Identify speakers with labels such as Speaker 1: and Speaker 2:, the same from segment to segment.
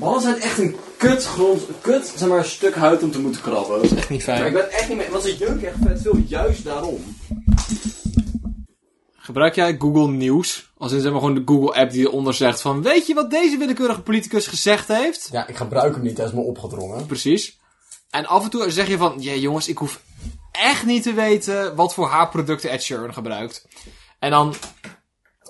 Speaker 1: het echt een kut, grond, kut zeg maar, stuk hout om te moeten krabben.
Speaker 2: is echt niet
Speaker 1: Maar ik
Speaker 2: fijn.
Speaker 1: ben echt niet meer... Want ze jeuken echt vet veel, juist daarom.
Speaker 2: Gebruik jij Google Nieuws? Als in zeg maar gewoon de Google app die eronder zegt van... Weet je wat deze willekeurige politicus gezegd heeft?
Speaker 3: Ja, ik gebruik hem niet, hij is me opgedrongen.
Speaker 2: Precies. En af en toe zeg je van... Jee jongens, ik hoef echt niet te weten wat voor haar producten Ed Sheeran gebruikt. En dan...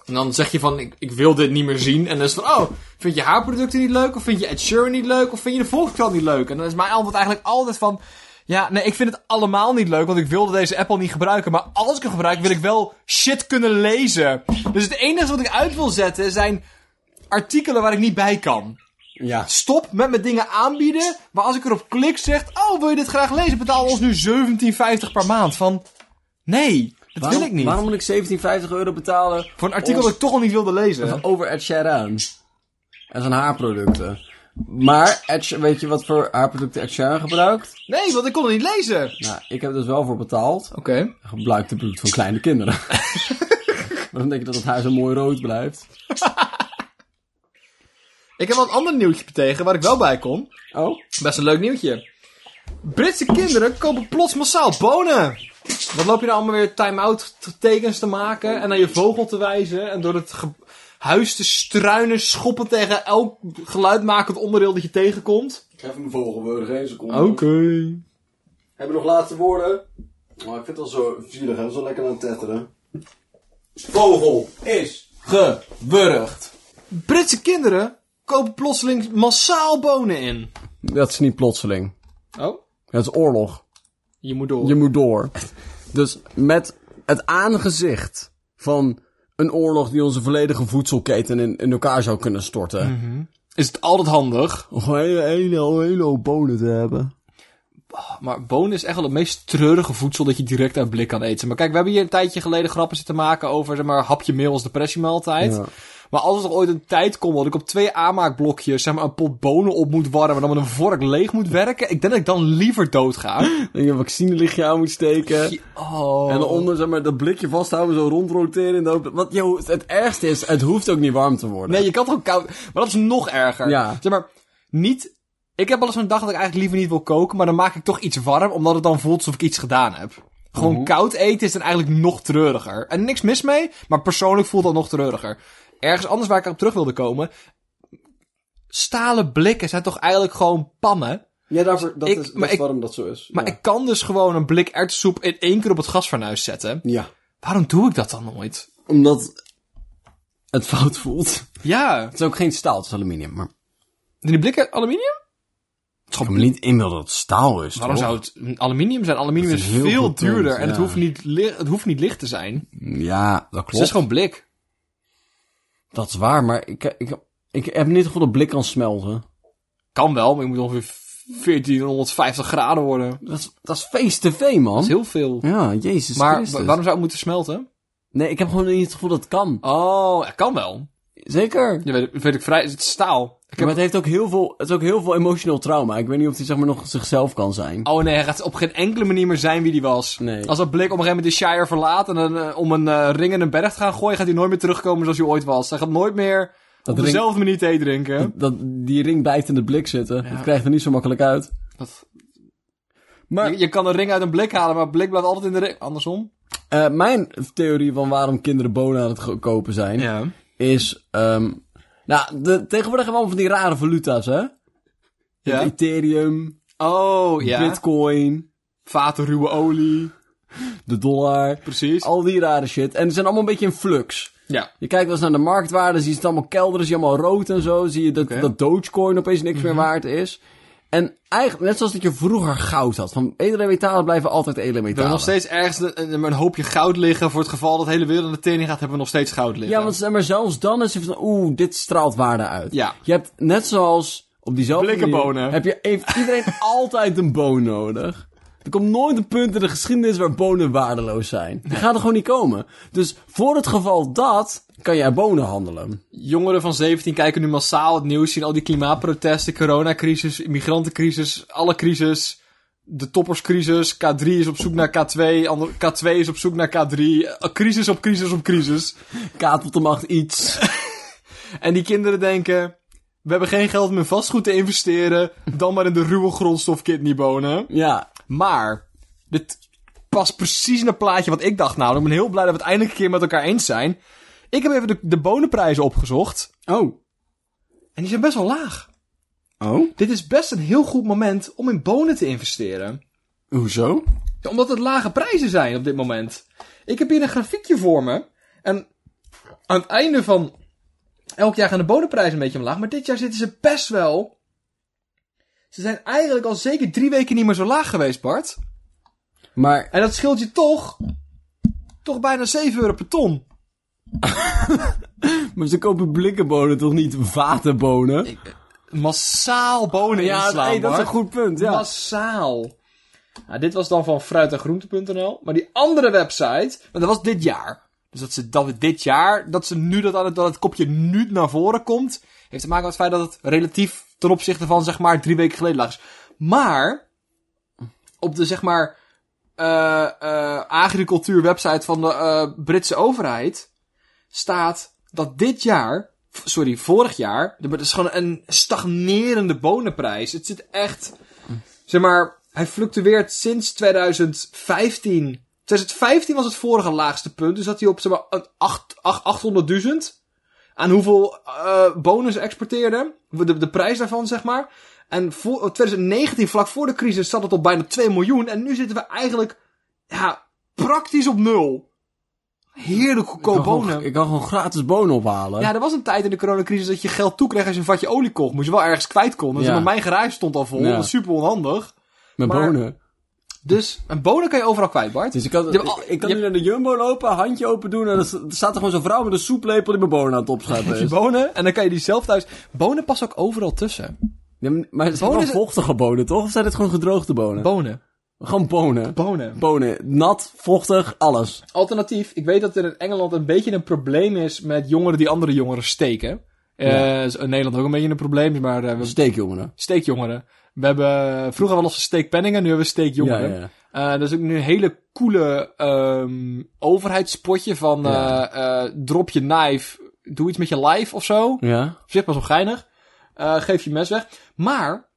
Speaker 2: En dan zeg je van, ik, ik wil dit niet meer zien. En dan is het van, oh, vind je haar producten niet leuk? Of vind je Ed Sheeran niet leuk? Of vind je de Volkskrant niet leuk? En dan is mijn antwoord eigenlijk altijd van... Ja, nee, ik vind het allemaal niet leuk, want ik wilde deze app al niet gebruiken. Maar als ik hem gebruik, wil ik wel shit kunnen lezen. Dus het enige wat ik uit wil zetten zijn artikelen waar ik niet bij kan.
Speaker 3: Ja.
Speaker 2: Stop met me dingen aanbieden. Maar als ik erop klik, zegt. Oh, wil je dit graag lezen? Betaal ons nu 17,50 per maand. Van. Nee, dat wil ik niet.
Speaker 1: Waarom moet ik 17,50 euro betalen
Speaker 2: Voor een artikel dat ik toch al niet wilde lezen.
Speaker 1: over Ed Sheeran? En zijn haarproducten. Maar, Ed She- weet je wat voor haarproducten Ed Sheeran gebruikt?
Speaker 2: Nee, want ik kon het niet lezen. Oké.
Speaker 1: Nou, ik heb er dus wel voor betaald. gebruikt de bloed van kleine kinderen. Waarom denk je dat het haar zo mooi rood blijft?
Speaker 2: Ik heb wel een ander nieuwtje tegen waar ik wel bij kon.
Speaker 1: Oh?
Speaker 2: Best een leuk nieuwtje. Britse kinderen kopen plots massaal bonen. Wat loop je nou allemaal weer time-out t- tekens te maken en naar je vogel te wijzen en door het ge- huis te struinen, schoppen tegen elk geluidmakend onderdeel dat je tegenkomt?
Speaker 1: Ik ga even mijn vogelwoorden, geen seconde.
Speaker 2: Oké.
Speaker 1: Hebben we nog laatste woorden? Oh, ik vind het al zo zielig, hè? Zo lekker aan het tetteren. Vogel is gewurgd.
Speaker 2: Britse kinderen kopen plotseling massaal bonen in.
Speaker 1: Dat is niet plotseling.
Speaker 2: Oh,
Speaker 1: Dat is oorlog.
Speaker 2: je moet door.
Speaker 1: Je moet door. Dus met het aangezicht van een oorlog die onze volledige voedselketen in, in elkaar zou kunnen storten.
Speaker 2: Is het altijd handig?
Speaker 1: Om Mhm. een hele, hele, hele hoop bonen te hebben.
Speaker 2: Maar bonen is echt wel het meest treurige voedsel dat je direct uit blik kan eten. Maar kijk, we hebben hier een tijdje geleden grappen zitten maken over zeg maar, hapje meel als depressiemaaltijd.
Speaker 1: Ja.
Speaker 2: Maar als er toch ooit een tijd komt dat ik op twee aanmaakblokjes zeg maar, een pot bonen op moet warmen en dan met een vork leeg moet werken, ik denk dat ik dan liever doodga.
Speaker 1: Dat je een vaccinelichtje aan moet steken.
Speaker 2: Oh.
Speaker 1: En daaronder, zeg maar, dat blikje vasthouden, zo rondroteren in de hoop. Want, joh, het ergste is, het hoeft ook niet warm te worden.
Speaker 2: Nee, je kan toch ook koud. Maar dat is nog erger.
Speaker 1: Ja.
Speaker 2: Zeg maar, niet. Ik heb wel eens een dag dat ik eigenlijk liever niet wil koken, maar dan maak ik toch iets warm, omdat het dan voelt alsof ik iets gedaan heb. Gewoon koud eten is dan eigenlijk nog treuriger. En niks mis mee, maar persoonlijk voelt dat nog treuriger. Ergens anders waar ik op terug wilde komen. Stalen blikken zijn toch eigenlijk gewoon pannen?
Speaker 1: Ja, daarvoor, dat
Speaker 2: Ik- maar ik-
Speaker 1: waarom dat zo is.
Speaker 2: Maar ik kan dus gewoon een blik erwtensoep in één keer op het gasfornuis zetten.
Speaker 1: Ja.
Speaker 2: Waarom doe ik dat dan nooit?
Speaker 1: Omdat het fout voelt.
Speaker 2: Ja.
Speaker 1: Het is ook geen staal, het is aluminium. Maar ik
Speaker 2: Die blikken aluminium?
Speaker 1: kan me niet inbeelden dat het staal is,
Speaker 2: Waarom zou het aluminium zijn? Aluminium
Speaker 1: Dat
Speaker 2: is,
Speaker 1: is heel
Speaker 2: veel
Speaker 1: goed punt,
Speaker 2: duurder en het
Speaker 1: ja.
Speaker 2: hoeft, niet li- het hoeft niet licht te zijn.
Speaker 1: Ja, dat
Speaker 2: Dus het
Speaker 1: klopt.
Speaker 2: is gewoon blik.
Speaker 1: Dat is waar, maar ik, ik, ik heb niet goed dat blik kan smelten.
Speaker 2: Kan wel, maar je moet ongeveer 1450 graden worden. Dat
Speaker 1: Dat is, dat is face-to-face, man.
Speaker 2: is heel veel.
Speaker 1: Ja, jezus
Speaker 2: Maar wa-
Speaker 1: Christus.
Speaker 2: waarom zou het moeten smelten?
Speaker 1: Nee, ik heb gewoon niet het gevoel dat het kan.
Speaker 2: Oh, het kan wel.
Speaker 1: Zeker.
Speaker 2: Ja, weet, weet ik vrij. Het is staal. Ik
Speaker 1: Maar
Speaker 2: heb...
Speaker 1: het heeft ook heel veel, het is ook heel veel emotioneel trauma. Ik weet niet of hij zeg maar nog zichzelf kan zijn.
Speaker 2: Oh nee, hij gaat op geen enkele manier meer zijn wie die was.
Speaker 1: Nee.
Speaker 2: Als dat blik op een gegeven moment de Shire verlaat en dan, eh, om een eh, ring in een berg te gaan gooien, gaat hij nooit meer terugkomen zoals hij ooit was. Hij gaat nooit meer
Speaker 1: Dat
Speaker 2: op
Speaker 1: ring-
Speaker 2: dezelfde manier thee drinken.
Speaker 1: Dat, die ring blijft in de blik zitten. Dat krijgt er niet zo makkelijk uit.
Speaker 2: Dat-
Speaker 1: Maar
Speaker 2: Je, je kan een ring uit een blik halen, maar blik blijft altijd in de ring. Andersom.
Speaker 1: eh, mijn theorie van waarom kinderen bonen aan het go- kopen zijn,
Speaker 2: Ja.
Speaker 1: is... ehm, nou, de, tegenwoordig hebben we allemaal van die rare valuta's, hè?
Speaker 2: Ja.
Speaker 1: Ethereum,
Speaker 2: Oh, ja.
Speaker 1: bitcoin,
Speaker 2: Vaten ruwe olie.
Speaker 1: de dollar,
Speaker 2: Precies.
Speaker 1: al die rare shit. En ze zijn allemaal een beetje in flux.
Speaker 2: Ja.
Speaker 1: Je kijkt wel eens naar de marktwaarde, zie je het allemaal kelderen, zie je allemaal rood en zo. Zie je dat,
Speaker 2: Oké. Mhm.
Speaker 1: dat Dogecoin opeens niks meer waard is. En eigenlijk, net zoals dat je vroeger goud had. Van edele metalen blijven altijd edele
Speaker 2: We hebben
Speaker 1: metalen.
Speaker 2: nog steeds ergens een, een- een hoopje goud liggen. Voor het geval dat de hele wereld in de tering gaat, hebben we nog steeds goud liggen.
Speaker 1: Ja, want zeg maar zelfs dan is het van, oeh, dit straalt waarde uit.
Speaker 2: Ja.
Speaker 1: Je hebt net zoals op diezelfde
Speaker 2: Blikkenbonen.
Speaker 1: manier- Heb je, heeft iedereen altijd een boon nodig. Er komt nooit een punt in de geschiedenis waar bonen waardeloos zijn. Die gaat er gewoon niet komen. Dus voor het geval dat, kan jij bonen handelen.
Speaker 2: Jongeren van 17 kijken nu massaal het nieuws. Zien al die klimaatprotesten, coronacrisis, immigrantencrisis, alle crisis. De topperscrisis. K3 is op zoek naar K2. ander- K2 is op zoek naar K3. eh, Crisis op crisis op crisis.
Speaker 1: K tot de macht iets.
Speaker 2: En die kinderen denken... We hebben geen geld om in vastgoed te investeren. Dan maar in de ruwe grondstof kidneybonen.
Speaker 1: Ja.
Speaker 2: Maar, dit past precies in het plaatje wat ik dacht. Nou, ik ben heel blij dat we het eindelijk een keer met elkaar eens zijn. Ik heb even de, de bonenprijzen opgezocht.
Speaker 1: Oh.
Speaker 2: En die zijn best wel laag.
Speaker 1: Oh?
Speaker 2: Dit is best een heel goed moment om in bonen te investeren.
Speaker 1: Hoezo?
Speaker 2: Ja, Omdat het lage prijzen zijn op dit moment. Ik heb hier een grafiekje voor me. En aan het einde van elk jaar gaan de bodemprijzen een beetje omlaag. Maar dit jaar zitten ze best wel. Ze zijn eigenlijk al zeker drie weken niet meer zo laag geweest, Bart.
Speaker 1: Maar,
Speaker 2: En dat scheelt je toch. toch bijna 7 euro per ton.
Speaker 1: maar ze kopen blikkenbonen toch niet waterbonen?
Speaker 2: Massaal bonen
Speaker 1: ja,
Speaker 2: inslaan,
Speaker 1: hey, dat is een
Speaker 2: Bart.
Speaker 1: goed punt, ja.
Speaker 2: Massaal. Nou, dit was dan van fruit- en groente.nl. Maar die andere website, want dat was dit jaar. Dus dat ze dat dit jaar, dat ze nu dat, aan het- dat het kopje nu naar voren komt, heeft te maken met het feit dat het relatief ten opzichte van zeg maar drie weken geleden lag is. Maar, op de zeg maar eh eh agricultuur website van de eh, Britse overheid staat dat dit jaar, f- sorry, vorig jaar, er- het is gewoon een stagnerende bonenprijs. Het zit echt zeg maar, hij fluctueert sinds 2015. 2015 was het vorige laagste punt. Dus zat hij op zeg maar, een acht- acht- 800.000. Aan hoeveel eh bonen ze exporteerden. De, de prijs daarvan, zeg maar. En voor, 2019, vlak voor de crisis, zat het op bijna 2 miljoen. En nu zitten we eigenlijk ja, praktisch op nul. Heerlijk
Speaker 1: Ik
Speaker 2: goedkoop
Speaker 1: kan gewoon-
Speaker 2: bonen.
Speaker 1: ik kan gewoon gratis bonen ophalen.
Speaker 2: Ja, er was een tijd in de coronacrisis dat je geld toekreeg als je een vatje olie kocht. Moest je wel ergens kwijt kon. Dus
Speaker 1: Ja.
Speaker 2: maar mijn garage stond al vol.
Speaker 1: Ja.
Speaker 2: Dat is super onhandig.
Speaker 1: Met
Speaker 2: maar-
Speaker 1: bonen.
Speaker 2: Dus een bonen kan je overal kwijt, Bart.
Speaker 1: Dus ik kan,
Speaker 2: Je hebt al-
Speaker 1: ik kan
Speaker 2: je
Speaker 1: nu naar de Jumbo lopen, handje open doen... en dan sta- staat er gewoon zo'n vrouw met een soeplepel die mijn bonen aan het opscheppen
Speaker 2: je
Speaker 1: is.
Speaker 2: bonen en dan kan je die zelf thuis... Bonen passen ook overal tussen.
Speaker 1: Ja, maar- maar het zijn
Speaker 2: Bonen
Speaker 1: wel
Speaker 2: zijn-
Speaker 1: vochtige bonen, toch? Of zijn dit gewoon gedroogde bonen?
Speaker 2: Bonen.
Speaker 1: gewoon bonen.
Speaker 2: Bonen.
Speaker 1: Bonen. Nat, vochtig, alles.
Speaker 2: Alternatief, ik weet dat er in Engeland een beetje een probleem is met jongeren die andere jongeren steken. Eh, is in Nederland ook een beetje een probleem, is, maar eh, we
Speaker 1: Steekjongeren.
Speaker 2: steekjongeren. We hebben eh, vroeger wel eens steekpenningen, nu hebben we steekjongeren.
Speaker 1: Ja, ja, ja.
Speaker 2: Eh, dat is ook nu een hele coole ehm overheidspotje van
Speaker 1: Ja.
Speaker 2: eh, eh, drop je knife, doe iets met je life of zo.
Speaker 1: Ja?
Speaker 2: Op zich pas wel geinig. Eh, geef je mes weg. Maar,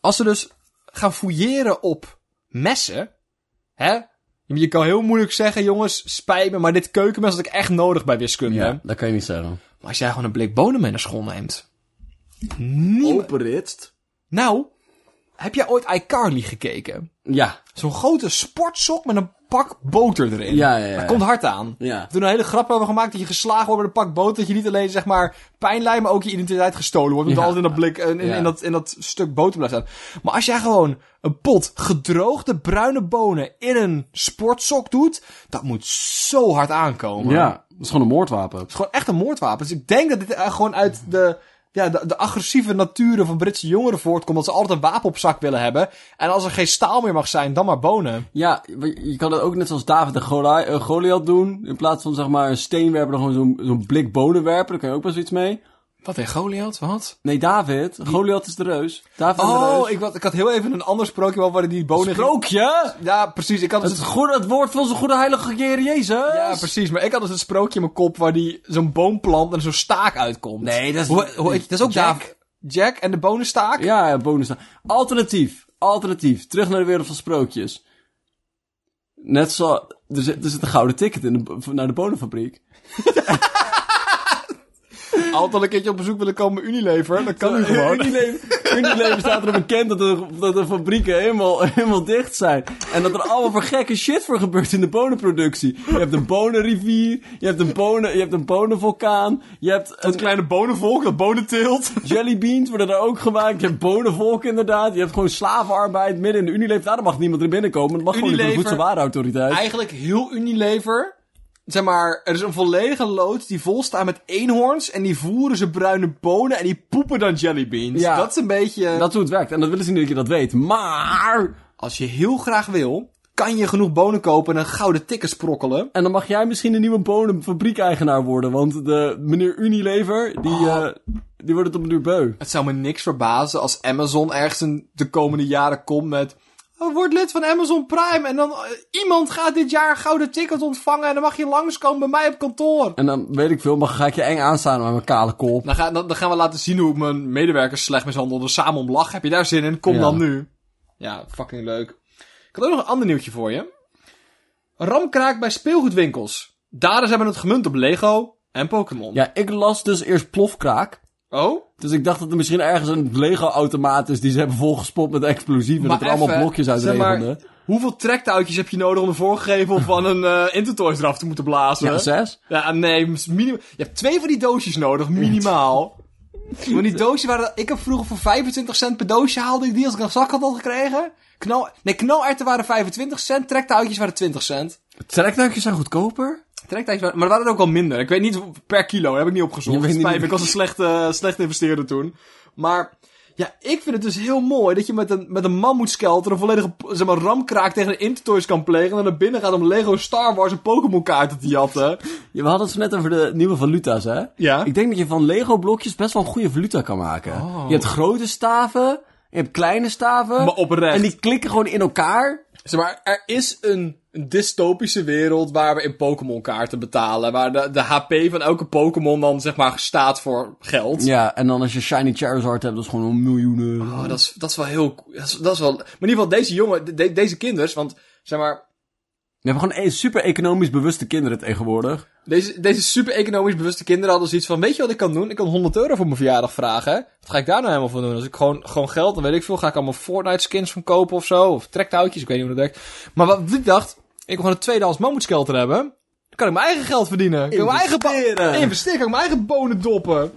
Speaker 2: als ze dus gaan fouilleren op messen, hè? Je kan heel moeilijk zeggen, jongens, spijt me, maar dit keukenmes had ik echt nodig bij wiskunde.
Speaker 1: Ja, dat kan je niet zeggen.
Speaker 2: Maar als jij gewoon een blik bonen mee naar school neemt. Niemand.
Speaker 1: Openritst?
Speaker 2: Nou, heb jij ooit iCarly gekeken?
Speaker 1: Ja.
Speaker 2: Zo'n grote sportsok met een pak boter erin.
Speaker 1: Ja, ja, ja.
Speaker 2: Dat komt hard aan.
Speaker 1: Ja.
Speaker 2: Toen een hele grap hebben we gemaakt dat je geslagen wordt met een pak boter. Dat je niet alleen zeg maar pijn lijdt, maar ook je identiteit gestolen wordt. Omdat
Speaker 1: Ja.
Speaker 2: altijd in dat blik, in, in,
Speaker 1: Ja.
Speaker 2: in dat, in dat stuk boter blijft staan. Maar als jij gewoon een pot gedroogde bruine bonen in een sportsok doet, dat moet zo hard aankomen.
Speaker 1: Ja, dat is gewoon een moordwapen.
Speaker 2: Het is gewoon echt een moordwapen. Dus ik denk dat dit eh, gewoon uit de, ja, de, de agressieve naturen van Britse jongeren voortkomt. Dat ze altijd een wapen op zak willen hebben. En als er geen staal meer mag zijn, dan maar bonen.
Speaker 1: Ja, je je kan het ook net zoals David en Goli- eh, Goliath doen. In plaats van zeg maar een steen werpen, dan gewoon zo'n zo'n blik bonen werpen. Daar kan je ook best iets mee.
Speaker 2: Wat in Goliath? Wat?
Speaker 1: Nee, David. Goliath is de reus. David is de
Speaker 2: Oh,
Speaker 1: reus.
Speaker 2: ik, had- ik had heel even een ander sprookje wel waar die bonen... ging-
Speaker 1: Sprookje?
Speaker 2: Ja, precies. Ik had dus
Speaker 1: Het, goede, het woord van zijn goede heilige Heer Jezus.
Speaker 2: Ja, precies. Maar ik had dus een sprookje in mijn kop waar die zo'n boom plant en zo'n staak uitkomt.
Speaker 1: Nee, dat is-
Speaker 2: Hoe, hoe- dat is ook
Speaker 1: Jack.
Speaker 2: Dav- Jack en de bonenstaak?
Speaker 1: Ja, ja, bonus. Alternatief. Alternatief. Terug naar de wereld van sprookjes. Net zo... Er zit, er zit een gouden ticket in de, bo- naar de bonenfabriek.
Speaker 2: Altijd een keertje op bezoek willen komen bij Unilever. Dat kan nu gewoon.
Speaker 1: Unilever, Unilever staat er bekend dat de, dat de fabrieken helemaal, helemaal dicht zijn. En dat er allemaal voor gekke shit voor gebeurt in de bonenproductie. Je hebt een bonenrivier, je hebt een, bonen, je hebt een bonenvulkaan, je hebt een
Speaker 2: kleine bonenvolk dat bonen teelt.
Speaker 1: jellybeans worden daar ook gemaakt. Je hebt bonenvolk inderdaad, je hebt gewoon slavenarbeid midden in de Unilever. Daarom mag niemand erin binnenkomen, dat mag gewoon niet
Speaker 2: Unilever-
Speaker 1: door de voedselwarenautoriteit.
Speaker 2: Eigenlijk heel Unilever. Zeg maar, er is een volledige loods die vol staat met eenhoorns. En die voeren ze bruine bonen en die poepen dan jellybeans.
Speaker 1: Ja.
Speaker 2: Dat is een beetje...
Speaker 1: Dat is hoe het werkt. En dat willen ze niet dat je dat weet. Maar...
Speaker 2: Als je heel graag wil, kan je genoeg bonen kopen en een gouden tikken sprokkelen.
Speaker 1: En dan mag jij misschien de nieuwe bonenfabriekeigenaar worden. Want de meneer Unilever, die,
Speaker 2: Oh.
Speaker 1: eh, die wordt het op een duur beu.
Speaker 2: Het zou me niks verbazen als Amazon ergens in de komende jaren komt met... eh, Word lid van Amazon Prime en dan eh, iemand gaat dit jaar een gouden ticket ontvangen en dan mag je langskomen bij mij op kantoor.
Speaker 1: En dan weet ik veel, maar ga ik je eng aanstaan met mijn kale kop.
Speaker 2: Dan, ga- dan, dan gaan we laten zien hoe ik mijn medewerkers slecht mishandelde samen om lachen. Heb je daar zin in? Kom
Speaker 1: Ja.
Speaker 2: dan nu. Ja, fucking leuk. Ik had ook nog een ander nieuwtje voor je. Ramkraak bij speelgoedwinkels. Daders hebben het gemunt op Lego en Pokémon.
Speaker 1: Ja, ik las dus eerst plofkraak.
Speaker 2: Oh?
Speaker 1: Dus ik dacht dat er misschien ergens een Lego-automaat is die ze hebben volgespot met explosieven. dat er allemaal
Speaker 2: even,
Speaker 1: blokjes uit
Speaker 2: zeg maar,
Speaker 1: regenden.
Speaker 2: Hoeveel trektoutjes heb je nodig om de voorgevel van een eh Intertoys eraf te moeten blazen?
Speaker 1: Ja, zes.
Speaker 2: Ja, nee, minimaal. Je hebt twee van die doosjes nodig, minimaal. Want die doosjes waren... Ik heb vroeger voor 25 cent per doosje haalde ik die als ik een zak had al gekregen. Knal, nee, knalerten waren 25 cent, trektoutjes waren 20 cent.
Speaker 1: Trekduikjes zijn goedkoper?
Speaker 2: Trektoutjes waren... Maar er waren er ook wel minder. Ik weet niet hoe- per kilo, dat heb ik niet opgezocht.
Speaker 1: Je weet niet-
Speaker 2: Spijt me, ik was een slechte, slechte investeerder toen. Maar... Ja, ik vind het dus heel mooi dat je met een, met een mammoetskelter een volledige zeg maar, ramkraak tegen een Intertoys kan plegen. En dan naar binnen gaat om Lego Star Wars en Pokémon kaarten te jatten.
Speaker 1: Ja, we hadden het zo net over de nieuwe valuta's, hè?
Speaker 2: Ja. Oh.
Speaker 1: Ik denk dat je van Lego-blokjes best wel een goede valuta kan maken. Je hebt grote staven, je hebt kleine staven.
Speaker 2: Maar oprecht.
Speaker 1: En die klikken gewoon in elkaar.
Speaker 2: Zeg maar, er is een, een dystopische wereld waar we in Pokémon kaarten betalen. Waar de, de HP van elke Pokémon dan zeg maar staat voor geld.
Speaker 1: Ja, en dan als je Shiny Charizard hebt, dat is gewoon een miljoen euro.
Speaker 2: Oh, dat is, dat is wel heel... Dat is, dat is wel... Maar in ieder geval, deze jongen, de- de- deze kinders, want zeg maar...
Speaker 1: We hebben gewoon e- super economisch bewuste kinderen tegenwoordig.
Speaker 2: Deze, deze super economisch bewuste kinderen hadden zoiets van... Weet je wat ik kan doen? Ik kan 100 euro voor mijn verjaardag vragen. Wat ga ik daar nou helemaal voor doen? Als ik gewoon, gewoon geld, dan weet ik veel. Ga ik allemaal Fortnite skins van kopen of zo? Of trektoutjes, ik weet niet hoe dat werkt. Maar wat ik dacht... Ik wil gewoon een tweedehands mammoetskelter hebben. Dan kan ik mijn eigen geld verdienen. Ik kan ik mijn eigen ba-
Speaker 1: Investeren.
Speaker 2: Investeren, kan ik mijn eigen bonen doppen.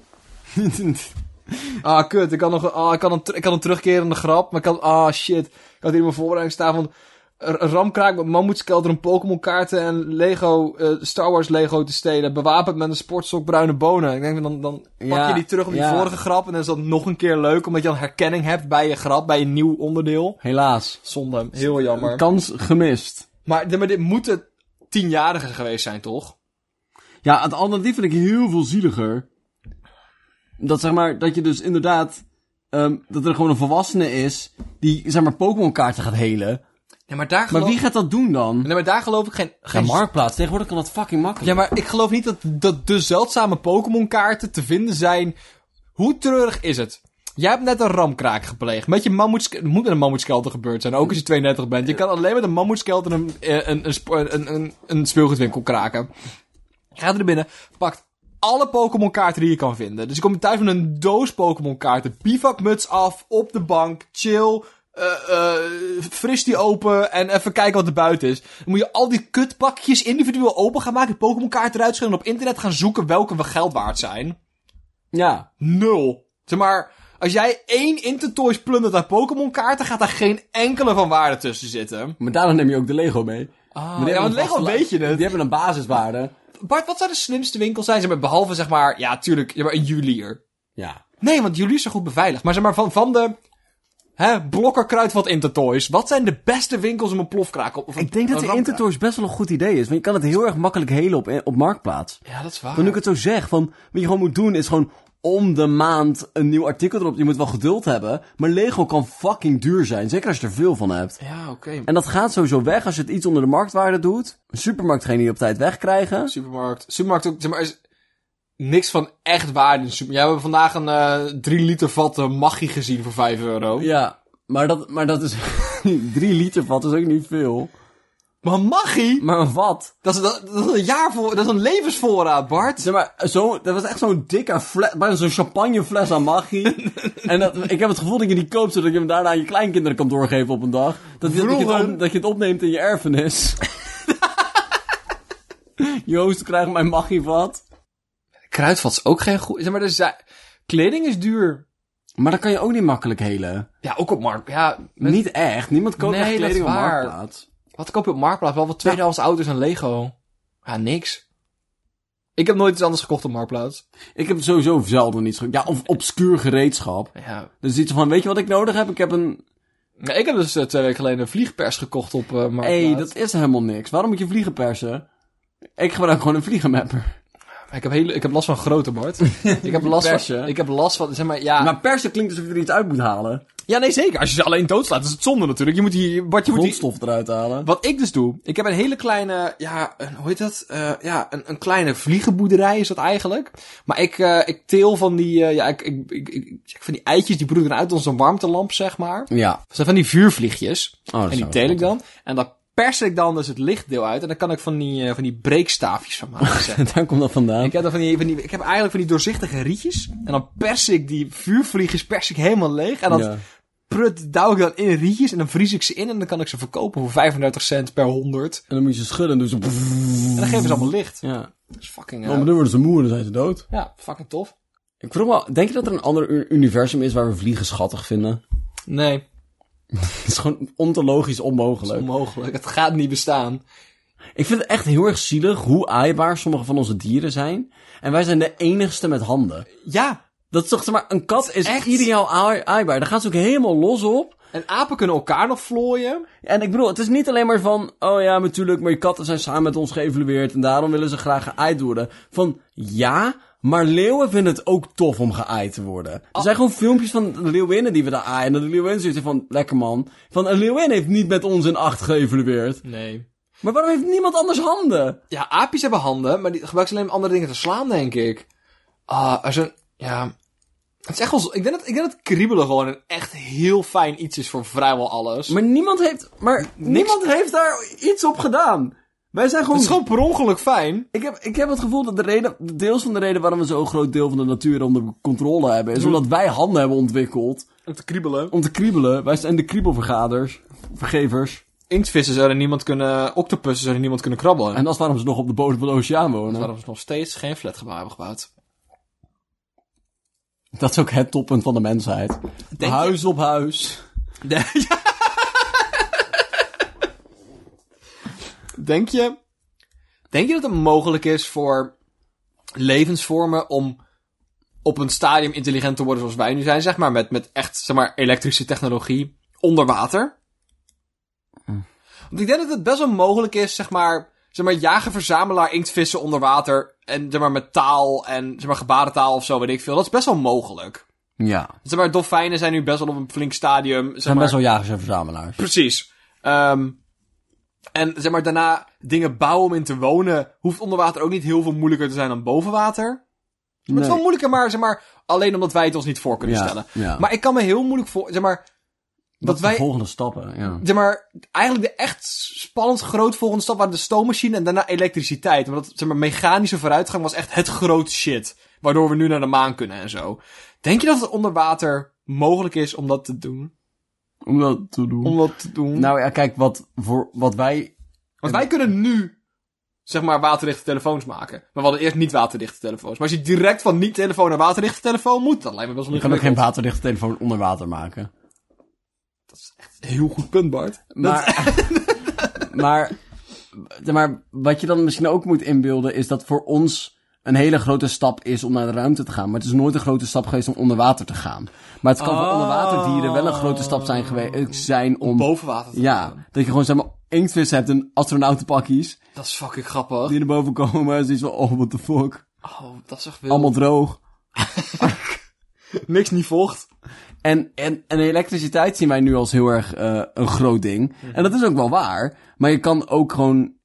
Speaker 2: Ah, kut. Ik kan, nog, ah, ik kan, een, ter- ik kan een terugkerende grap. Maar ik kan... Ah, shit. Ik had hier in mijn voorbereiding staan van... r- Ramkraak met mammoetskelter en Pokémon kaarten en Lego, eh, Star Wars Lego te stelen. Bewapend met een sportsok bruine bonen. Ik denk, dan, dan pak
Speaker 1: Ja,
Speaker 2: je die terug op die
Speaker 1: ja.
Speaker 2: vorige grap. En dan is dat nog een keer leuk. Omdat je dan herkenning hebt bij je grap, bij je nieuw onderdeel.
Speaker 1: Helaas.
Speaker 2: Zonde. Heel jammer.
Speaker 1: Kans gemist.
Speaker 2: Maar, maar dit moeten tienjarigen geweest zijn, toch?
Speaker 1: Ja, het alternatief vind ik heel veel zieliger. Dat zeg maar, dat je dus inderdaad, ehm, dat er gewoon een volwassene is die zeg maar Pokémon kaarten gaat helen.
Speaker 2: Nee, maar daar geloof,
Speaker 1: Maar wie gaat dat doen dan?
Speaker 2: nee, maar daar geloof ik geen...
Speaker 1: Ja,
Speaker 2: geen
Speaker 1: Marktplaats, tegenwoordig kan dat fucking makkelijk.
Speaker 2: Ja, maar ik geloof niet dat, dat de zeldzame Pokémon-kaarten te vinden zijn. Hoe treurig is het? Jij hebt net een ramkraak gepleegd. Met je mammoetsk- het moet met een mammoetskelter gebeurd zijn, ook als je 32 bent. Je kan alleen met een mammoetskelter een, eh, een, een, sp- een, een, een speelgoedwinkel kraken. Je gaat er binnen, pakt alle Pokémon-kaarten die je kan vinden. Dus ik kom je thuis met een doos Pokémon-kaarten. Bivakmuts af, op de bank, chill. eh eh, fris die open en even kijken wat er buiten is. Dan moet je al die kutpakjes individueel open gaan maken, Pokémon-kaarten eruit schudden en op internet gaan zoeken welke we geld waard zijn.
Speaker 1: Ja.
Speaker 2: Nul. Zeg maar, als jij één Intertoys plundert uit Pokémon-kaarten, gaat daar geen enkele van waarde tussen zitten.
Speaker 1: Maar daarom neem je ook de Lego mee.
Speaker 2: Ah,
Speaker 1: Maar die
Speaker 2: ja, want
Speaker 1: hebben een
Speaker 2: Lego
Speaker 1: vaste-
Speaker 2: weet je het.
Speaker 1: Die hebben een basiswaarde.
Speaker 2: Bart, wat zou de slimste winkel zijn? Zeg maar, behalve zeg maar, ja, tuurlijk, ja, maar een juwelier.
Speaker 1: Ja.
Speaker 2: Nee, want jullie zijn goed beveiligd. Maar zeg maar, van, van de hè, blokkerkruidvat Intertoys, wat zijn de beste winkels om een plofkraak op? Of een,
Speaker 1: Ik denk dat
Speaker 2: een
Speaker 1: de
Speaker 2: ramkraak?
Speaker 1: Intertours best wel een goed idee is. Want je kan het heel erg makkelijk helen op, op Marktplaats.
Speaker 2: Ja, dat is waar.
Speaker 1: Maar nu ik het zo zeg, van, wat je gewoon moet doen is gewoon om de maand een nieuw artikel erop. Je moet wel geduld hebben. Maar Lego kan fucking duur zijn. Zeker als je er veel van hebt.
Speaker 2: Ja, oké.
Speaker 1: En dat gaat sowieso weg als je het iets onder de marktwaarde doet. Een supermarkt geen die op tijd wegkrijgen.
Speaker 2: Supermarkt. Supermarkt ook, zeg maar, is niks van echt waarde in de supermarkt. Ja, we hebben vandaag een eh 3 liter vat eh, Maggi gezien voor 5 euro.
Speaker 1: Ja, maar dat, maar dat is... drie liter vat is ook niet veel.
Speaker 2: Maar Maggi?
Speaker 1: Maar een vat.
Speaker 2: Dat is, dat, dat is een jaar voor, dat is een levensvoorraad, Bart.
Speaker 1: Zeg maar, zo, dat was echt zo'n dikke fles, bijna zo'n champagnefles aan magie. en dat, ik heb het gevoel dat je die koopt zodat je hem daarna aan je kleinkinderen kan doorgeven op een dag. Dat, je- dat, je, het
Speaker 2: Vroeger-
Speaker 1: op- dat je het opneemt in je erfenis. Joost krijgt mijn magievat.
Speaker 2: Kruidvat is ook geen goed. Zeg maar, er zijn- kleding is duur.
Speaker 1: Maar dat kan je ook niet makkelijk helen.
Speaker 2: Ja, ook op markt. Ja,
Speaker 1: Niet echt. Niemand koopt
Speaker 2: Nee,
Speaker 1: echt
Speaker 2: dat is
Speaker 1: kleding op
Speaker 2: waar.
Speaker 1: marktplaats.
Speaker 2: Wat koop je op Marktplaats? Wel wat tweedehands auto's en Lego. Ja, niks. Ik heb nooit iets anders gekocht op Marktplaats.
Speaker 1: Ik heb sowieso zelden iets ge- Ja, of obscuur gereedschap.
Speaker 2: Ja.
Speaker 1: Dus iets van, weet je wat ik nodig heb? Ik heb een...
Speaker 2: Ja, ik heb dus eh, twee weken geleden een vliegpers gekocht op eh, Marktplaats.
Speaker 1: Hé, hey, dat is helemaal niks. Waarom moet je vliegen persen? Ik gebruik gewoon een vliegenmapper.
Speaker 2: Ik, heb hele, ik heb last van grote, Bart. ik, heb last
Speaker 1: Persen.
Speaker 2: van, ik heb last van... Zeg maar, ja,
Speaker 1: Maar persen klinkt alsof je er iets uit Ah. moet halen.
Speaker 2: Ja, nee, zeker. Als je ze alleen doodslaat, is het zonde natuurlijk. Je moet die, wat je moet die,
Speaker 1: Grondstof eruit halen.
Speaker 2: wat ik dus doe, ik heb een hele kleine, ja, een, hoe heet dat? Eh, ja, een, een kleine vliegenboerderij is dat eigenlijk. Maar ik, eh, ik teel van die, eh, ja, ik, ik, ik, ik, ik- van die eitjes, die broeden uit onze warmtelamp, zeg maar.
Speaker 1: Ja.
Speaker 2: Dat zijn van die vuurvliegjes.
Speaker 1: Oh, dat
Speaker 2: en die
Speaker 1: zou-
Speaker 2: teel ik dan. En dan pers ik dan dus het lichtdeel uit. En dan kan ik van die, eh, van die breekstaafjes van maken, zeg.
Speaker 1: Daar komt dat vandaan.
Speaker 2: Ik heb, dan van die, van die, ik heb eigenlijk van die doorzichtige rietjes. En dan pers ik die vuurvliegjes pers ik helemaal leeg. En dat
Speaker 1: Ja.
Speaker 2: prut douw ik dan in rietjes. En dan vries ik ze in. En dan kan ik ze verkopen voor 35 cent per 100.
Speaker 1: En dan moet je ze schudden en doen ze...
Speaker 2: En dan geven ze allemaal licht.
Speaker 1: Ja.
Speaker 2: Dat is fucking... eh,
Speaker 1: Oh, maar dan worden ze moe en dan zijn ze dood.
Speaker 2: ja, fucking tof.
Speaker 1: Ik vroeg me, denk je dat er een ander u- universum is waar we vliegen schattig vinden?
Speaker 2: Nee,
Speaker 1: Het is gewoon ontologisch onmogelijk.
Speaker 2: onmogelijk. Het gaat niet bestaan.
Speaker 1: Ik vind het echt heel erg zielig hoe aaibaar sommige van onze dieren zijn. En wij zijn de enigste met handen.
Speaker 2: Ja,
Speaker 1: Dat is toch zeg maar, een kat is
Speaker 2: Echt?
Speaker 1: ideaal aai- aaibaar. Daar gaan ze ook helemaal los op.
Speaker 2: en apen kunnen elkaar nog vlooien.
Speaker 1: En ik bedoel, het is niet alleen maar van, oh ja, natuurlijk, maar je katten zijn samen met ons geëvalueerd en daarom willen ze graag geaaid worden. Van, ja, maar leeuwen vinden het ook tof om geaaid te worden. Er zijn gewoon filmpjes van de leeuwinnen die we daar aaien. En de leeuwin zegt van, lekker man. Van, een leeuwin heeft niet met ons in acht geëvalueerd.
Speaker 2: Nee.
Speaker 1: Maar waarom heeft niemand anders handen?
Speaker 2: Ja, aapjes hebben handen, maar die gebruiken ze alleen om andere dingen te slaan, denk ik. Ah, er zijn... Ja... Het is echt wel... zo- Ik denk, dat, ik denk dat kriebelen gewoon een echt heel fijn iets is voor vrijwel alles.
Speaker 1: Maar niemand heeft, maar niemand heeft daar iets op gedaan. Wij zijn
Speaker 2: Het
Speaker 1: gewoon
Speaker 2: is gewoon per ongeluk fijn.
Speaker 1: Ik heb, ik heb het gevoel dat de reden, deels van de reden waarom we zo'n groot deel van de natuur onder controle hebben, is omdat wij handen hebben ontwikkeld
Speaker 2: Om te kriebelen.
Speaker 1: om te kriebelen. Wij zijn de kriebelvergaders, vergevers.
Speaker 2: Inktvissen zouden niemand kunnen... Octopussen zouden niemand kunnen krabbelen.
Speaker 1: En dat is waarom ze dus nog op de bodem van de oceaan wonen.
Speaker 2: waarom ze nog steeds geen flatgebouw hebben gebouwd.
Speaker 1: Dat is ook het toppunt van de mensheid.
Speaker 2: je?
Speaker 1: huis op huis.
Speaker 2: Denk je... Denk je dat het mogelijk is voor levensvormen om op een stadium intelligent te worden zoals wij nu zijn, zeg maar, met, met echt, zeg maar, elektrische technologie onder water? Want ik denk dat het best wel mogelijk is, zeg maar, zeg maar, jagen, verzamelaar, inktvissen onder water en, zeg maar, met taal en, zeg maar, gebarentaal of zo, weet ik veel. Dat is best wel mogelijk.
Speaker 1: Ja. We
Speaker 2: Zeg maar, dolfijnen zijn nu best wel op een flink stadium, zeg
Speaker 1: zijn
Speaker 2: maar.
Speaker 1: best wel jagers en verzamelaars.
Speaker 2: Precies. Ehm, en zeg maar, daarna dingen bouwen om in te wonen, hoeft onder water ook niet heel veel moeilijker te zijn dan boven water. Maar Het is wel moeilijker, maar, zeg maar alleen omdat wij het ons niet voor kunnen
Speaker 1: Ja,
Speaker 2: stellen.
Speaker 1: ja.
Speaker 2: Maar ik kan me heel moeilijk voor, zeg maar, dat
Speaker 1: Dat zijn de
Speaker 2: wij,
Speaker 1: volgende stappen, ja.
Speaker 2: zeg maar, eigenlijk de echt spannend groot volgende stap waren de stoommachine en daarna elektriciteit. Omdat, zeg maar, mechanische vooruitgang was echt het grote shit. Waardoor we nu naar de maan kunnen en zo. Denk je dat het onder water mogelijk is om dat te doen?
Speaker 1: Om dat te doen.
Speaker 2: Om dat te doen?
Speaker 1: Nou ja, kijk, wat, voor, wat wij...
Speaker 2: Want wij kunnen nu, zeg maar, waterdichte telefoons maken. Maar we hadden eerst niet waterdichte telefoons. Maar als je direct van niet-telefoon naar waterdichte telefoon moet, dat lijkt me best wel
Speaker 1: Je kan ook geen
Speaker 2: ingewikkeld.
Speaker 1: waterdichte telefoon onder water maken.
Speaker 2: Heel goed punt, Bart.
Speaker 1: Maar, maar, maar wat je dan misschien ook moet inbeelden is dat voor ons een hele grote stap is om naar de ruimte te gaan. Maar het is nooit een grote stap geweest om onder water te gaan. Maar het kan voor
Speaker 2: Oh.
Speaker 1: onderwaterdieren wel een grote stap zijn geweest zijn om...
Speaker 2: Boven water. te-
Speaker 1: ja, dat je gewoon zeg maar inktvissen hebt en astronautenpakjes
Speaker 2: Dat is fucking grappig.
Speaker 1: die naar boven komen. En zoiets van, oh what the fuck.
Speaker 2: Oh, dat is echt wild.
Speaker 1: Allemaal droog.
Speaker 2: niks niet vocht.
Speaker 1: En, en, en elektriciteit zien wij nu als heel erg eh, een groot ding.
Speaker 2: Mhm.
Speaker 1: En dat is ook wel waar. Maar je kan ook gewoon...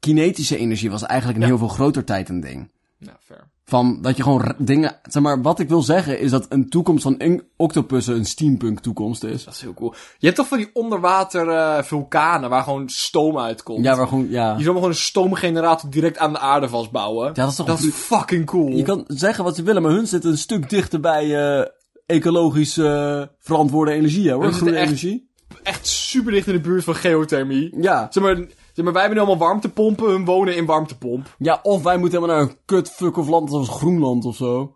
Speaker 1: Kinetische energie was eigenlijk in heel veel groter tijd een ding.
Speaker 2: Ja, fair.
Speaker 1: Van dat je gewoon r- dingen... Zeg maar, wat ik wil zeggen is dat een toekomst van in- octopussen een steampunk toekomst is.
Speaker 2: Dat is heel cool. Je hebt toch van die onderwater eh, vulkanen waar gewoon stoom uitkomt.
Speaker 1: Ja, maar gewoon... Ja.
Speaker 2: Je zou maar gewoon een stoomgenerator direct aan de aarde vastbouwen.
Speaker 1: dat is toch-
Speaker 2: Dat is fucking cool.
Speaker 1: Je kan zeggen wat ze willen, maar hun zitten een stuk dichter bij eh, ecologisch eh, verantwoorde energie, hè, hoor.
Speaker 2: Hun zitten
Speaker 1: Groene
Speaker 2: echt-
Speaker 1: energie.
Speaker 2: Echt super dicht in de buurt van geothermie.
Speaker 1: Ja.
Speaker 2: Zeg maar, zeg maar, wij hebben nu allemaal warmtepompen, hun wonen in warmtepomp.
Speaker 1: ja, of wij moeten helemaal naar een kut fuck of land als Groenland of zo.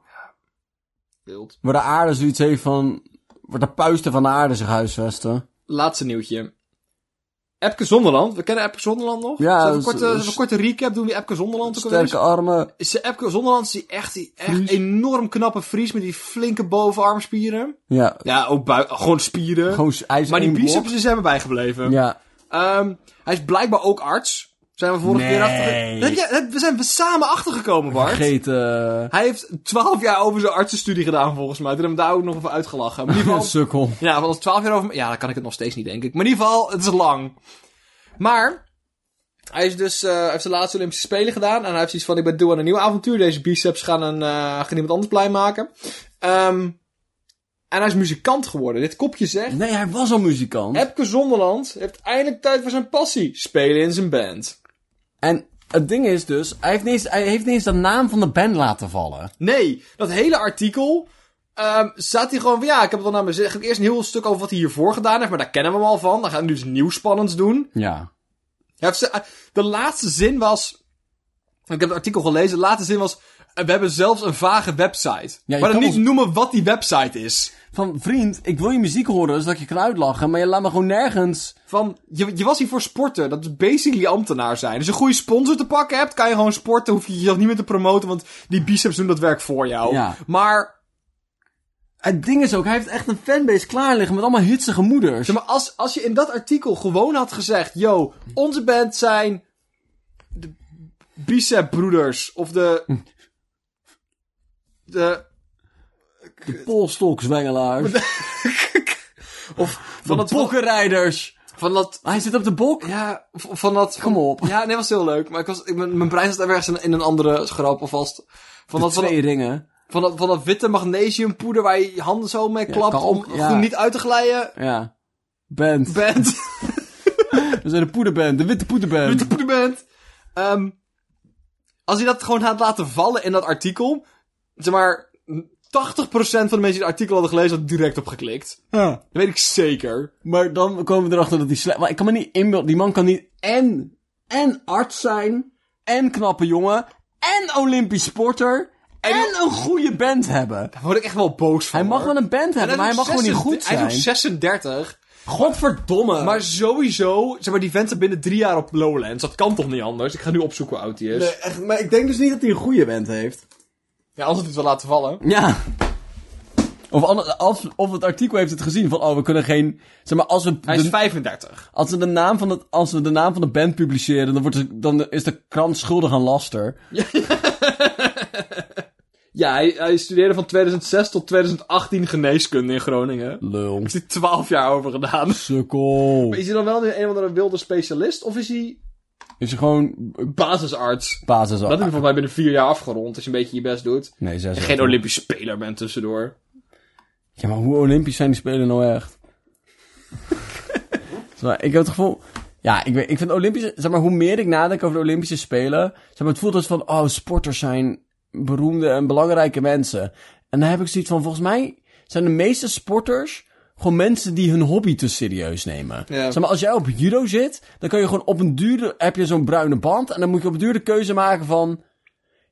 Speaker 2: Wild.
Speaker 1: Waar de aarde zoiets heeft van... Waar de puisten van de aarde zich huisvesten.
Speaker 2: Laatste nieuwtje. Epke Zonderland, we kennen Epke Zonderland nog?
Speaker 1: Ja,
Speaker 2: Zullen we een
Speaker 1: dus-
Speaker 2: korte, zullen we
Speaker 1: dus-
Speaker 2: een korte recap doen wie Epke Zonderland ook alweer is?
Speaker 1: Sterke armen.
Speaker 2: Is Epke Zonderland is die echt, die echt enorm knappe Fries met die flinke bovenarmspieren.
Speaker 1: Ja,
Speaker 2: Ja, ook bui- gewoon spieren.
Speaker 1: gewoon s- hij is
Speaker 2: maar die
Speaker 1: één blok.
Speaker 2: biceps is hem bijgebleven.
Speaker 1: Ja,
Speaker 2: Ehm, hij is blijkbaar ook arts. Zijn we vorige keer
Speaker 1: Nee.
Speaker 2: achter... Dat Heb jij, dat- we zijn we samen achtergekomen, Bart.
Speaker 1: Vergeet... eh,
Speaker 2: Hij heeft 12 jaar over zijn artsenstudie gedaan, volgens mij. Toen hebben we daar ook nog even uitgelachen. Maar in ieder geval...
Speaker 1: sukkel.
Speaker 2: ja, want als 12 jaar over... Ja, dan kan ik het nog steeds niet, denk ik. Maar in ieder geval, het is lang. Maar... Hij is dus, eh, hij heeft zijn laatste Olympische Spelen gedaan. En hij heeft zoiets van, ik ben toe aan een nieuw avontuur. Deze biceps gaan, een, eh, gaan iemand anders blij maken. Ehm, en hij is muzikant geworden. Dit kopje zegt...
Speaker 1: Nee, hij was al muzikant.
Speaker 2: Epke Zonderland heeft eindelijk tijd voor zijn passie. Spelen in zijn band.
Speaker 1: En het ding is dus, hij heeft, niet eens, hij heeft niet eens de naam van de band laten vallen.
Speaker 2: Nee, dat hele artikel... ehm staat hij gewoon van, ja, ik heb het al naar me zin. Ik heb eerst een heel stuk over wat hij hiervoor gedaan heeft. Maar daar kennen we hem al van. Dan gaan we nu iets nieuws spannends doen.
Speaker 1: Ja.
Speaker 2: Hij heeft ze- de laatste zin was... Ik heb het artikel gelezen. De laatste zin was... eh, We hebben zelfs een vage website.
Speaker 1: je
Speaker 2: maar dan
Speaker 1: kan
Speaker 2: niet
Speaker 1: ons-
Speaker 2: noemen wat die website is.
Speaker 1: Van, vriend, ik wil je muziek horen, zodat ik je kan uitlachen, maar je laat me gewoon nergens.
Speaker 2: Van, je, je was hier voor sporten. Dat is basically ambtenaar zijn. Als je een goede sponsor te pakken hebt, kan je gewoon sporten. Hoef je jezelf niet meer te promoten, want die biceps doen dat werk voor jou.
Speaker 1: Ja.
Speaker 2: Maar,
Speaker 1: Het ding is ook, hij heeft echt een fanbase klaar liggen met allemaal hitsige moeders.
Speaker 2: zeg maar als, als je in dat artikel gewoon had gezegd... Yo, onze band zijn de bicepbroeders. Of
Speaker 1: Hm.
Speaker 2: de... De...
Speaker 1: De polstokzwengelaars.
Speaker 2: Of
Speaker 1: Van de
Speaker 2: van dat... Van,
Speaker 1: bokkenrijders.
Speaker 2: van dat...
Speaker 1: Hij zit op de bok.
Speaker 2: Ja, v- van dat...
Speaker 1: Kom op.
Speaker 2: Ja, nee, was heel leuk. Maar ik was, ik, mijn, mijn brein zat ergens in, in een andere schrap alvast. Van dat, van dat-
Speaker 1: Twee ringen.
Speaker 2: Van dat, van dat witte magnesiumpoeder waar je je handen zo mee klapt
Speaker 1: kalk,
Speaker 2: om
Speaker 1: ja.
Speaker 2: goed niet uit te glijden
Speaker 1: Ja. Band.
Speaker 2: bent.
Speaker 1: We zijn de poederband. De witte poederband.
Speaker 2: witte poeder bent. Ehm, als je dat gewoon had laten vallen in dat artikel, zeg maar, 80% van de mensen die het artikel hadden gelezen hadden direct op geklikt.
Speaker 1: Ja.
Speaker 2: Dat weet ik zeker.
Speaker 1: Maar dan komen we erachter dat hij slecht... Maar ik kan me niet inbeelden. Die man kan niet en, en arts zijn. En knappe jongen. En olympisch sporter. En, een goede band hebben.
Speaker 2: Daar word ik echt wel boos van.
Speaker 1: Hij mag
Speaker 2: hoor.
Speaker 1: wel een band
Speaker 2: En
Speaker 1: hebben, maar hij
Speaker 2: is
Speaker 1: mag
Speaker 2: ook
Speaker 1: gewoon niet
Speaker 2: 36
Speaker 1: goed zijn.
Speaker 2: Hij is ook 36.
Speaker 1: Godverdomme.
Speaker 2: Maar sowieso, zeg maar, die vent zit binnen drie jaar op Lowlands. Dat kan toch niet anders? Ik ga nu opzoeken hoe oud hij is.
Speaker 3: Nee, echt, maar ik denk dus niet dat hij een goede band heeft.
Speaker 2: Ja, anders had hij het wel laten vallen.
Speaker 1: Ja. Of, ander- als, of het artikel heeft het gezien van, oh, we kunnen geen... Zeg maar, als we,
Speaker 2: Hij is
Speaker 1: de,
Speaker 2: 35.
Speaker 1: als we, de, naam van het, als we de naam van de band publiceren, dan, wordt de- dan is de krant schuldig aan laster.
Speaker 2: Ja, hij, hij studeerde van 2006 tot 2018 geneeskunde in Groningen.
Speaker 1: Lul.
Speaker 2: Is hij 12 jaar over gedaan.
Speaker 1: Sukkel.
Speaker 2: Is hij dan wel een of andere wilde specialist? Of is hij
Speaker 1: Is er gewoon
Speaker 2: basisarts?
Speaker 1: basis
Speaker 2: Dat heb je volgens mij binnen vier jaar afgerond, als je een beetje je best doet.
Speaker 1: Nee, zes.
Speaker 2: En
Speaker 1: jaar.
Speaker 2: geen Olympisch speler bent tussendoor.
Speaker 1: Ja, maar hoe Olympisch zijn die spelen nou echt? Zeg maar, ik heb het gevoel... Ja, ik, weet, ik vind Olympische... Zeg maar, hoe meer ik nadenk over de Olympische Spelen... Zeg maar, het voelt als van... Oh, sporters zijn beroemde en belangrijke mensen. En daar heb ik zoiets van... Volgens mij zijn de meeste sporters... Gewoon mensen die hun hobby te serieus nemen.
Speaker 2: Ja.
Speaker 1: Zeg maar, als jij op judo zit... Dan kan je gewoon op een duurde... Heb je zo'n bruine band... En dan moet je op een duurde keuze maken van...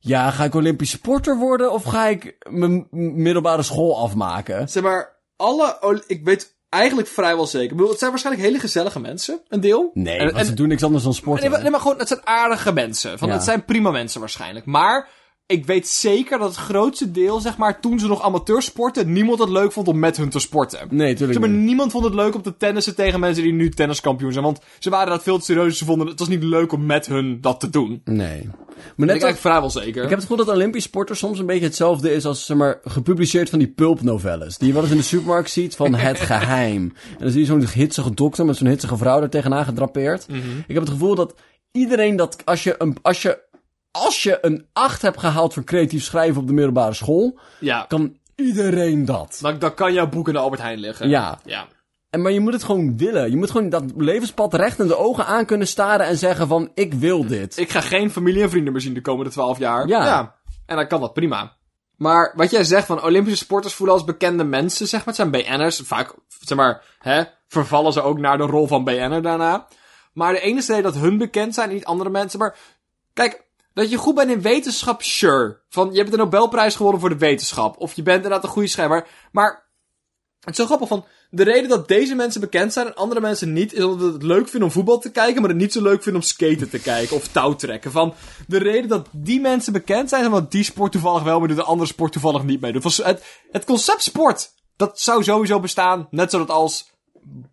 Speaker 1: Ja, ga ik Olympisch sporter worden... Of ga ik mijn middelbare school afmaken?
Speaker 2: Zeg maar, alle... Oli- Ik weet eigenlijk vrijwel zeker. Ik bedoel, het zijn waarschijnlijk hele gezellige mensen, een deel.
Speaker 1: Nee,
Speaker 2: En-
Speaker 1: want
Speaker 2: en-
Speaker 1: ze doen niks anders dan sporten.
Speaker 2: Nee, maar, nee, maar gewoon, het zijn aardige mensen. Van,
Speaker 1: Ja.
Speaker 2: Het zijn prima mensen waarschijnlijk. Maar ik weet zeker dat het grootste deel, zeg maar, toen ze nog amateur sporten, niemand het leuk vond om met hun te sporten.
Speaker 1: Nee, tuurlijk
Speaker 2: Zeg maar,
Speaker 1: niet.
Speaker 2: niemand vond het leuk om te tennissen tegen mensen die nu tenniskampioen zijn. Want ze waren dat veel te serieus. Ze vonden het was niet leuk om met hun dat te doen.
Speaker 1: Nee. Maar
Speaker 2: Ben
Speaker 1: net als,
Speaker 2: ik eigenlijk
Speaker 1: ik
Speaker 2: vrijwel zeker.
Speaker 1: heb het gevoel dat Olympisch sporter soms een beetje hetzelfde is als, zeg maar, gepubliceerd van die pulpnovelles. Die je wel eens in de supermarkt ziet van het geheim. En dan zie je zo'n hitsige dokter met zo'n hitsige vrouw er tegenaan gedrapeerd.
Speaker 2: Mhm.
Speaker 1: Ik heb het gevoel dat iedereen dat, als je een, als je, als je een 8 hebt gehaald voor creatief schrijven op de middelbare school,
Speaker 2: Ja.
Speaker 1: kan iedereen dat.
Speaker 2: Dan, dan kan jouw boek in de Albert Heijn liggen.
Speaker 1: Ja.
Speaker 2: Ja.
Speaker 1: En, maar je moet het gewoon willen. Je moet gewoon dat levenspad recht in de ogen aan kunnen staren en zeggen van, ik wil dit.
Speaker 2: Ik ga geen familie en vrienden meer zien de komende twaalf jaar.
Speaker 1: Ja.
Speaker 2: En dan kan dat prima. Maar wat jij zegt van Olympische sporters voelen als bekende mensen, zeg maar. Het zijn BN'ers. Vaak, zeg maar, hè, vervallen ze ook naar de rol van BN'er daarna. Maar de enige reden dat hun bekend zijn en niet andere mensen. Maar kijk, dat je goed bent in wetenschap, sure. Van, je hebt de Nobelprijs gewonnen voor de wetenschap. Of je bent inderdaad een goede schrijver. Maar het is zo grappig van. De reden dat deze mensen bekend zijn en andere mensen niet, is omdat we het leuk vinden om voetbal te kijken, maar het niet zo leuk vinden om skaten te kijken of touwtrekken. Van de reden dat die mensen bekend zijn, is omdat die sport toevallig wel mee doet, de andere sport toevallig niet mee doet. Van, het, het concept sport, dat zou sowieso bestaan. Net zoals als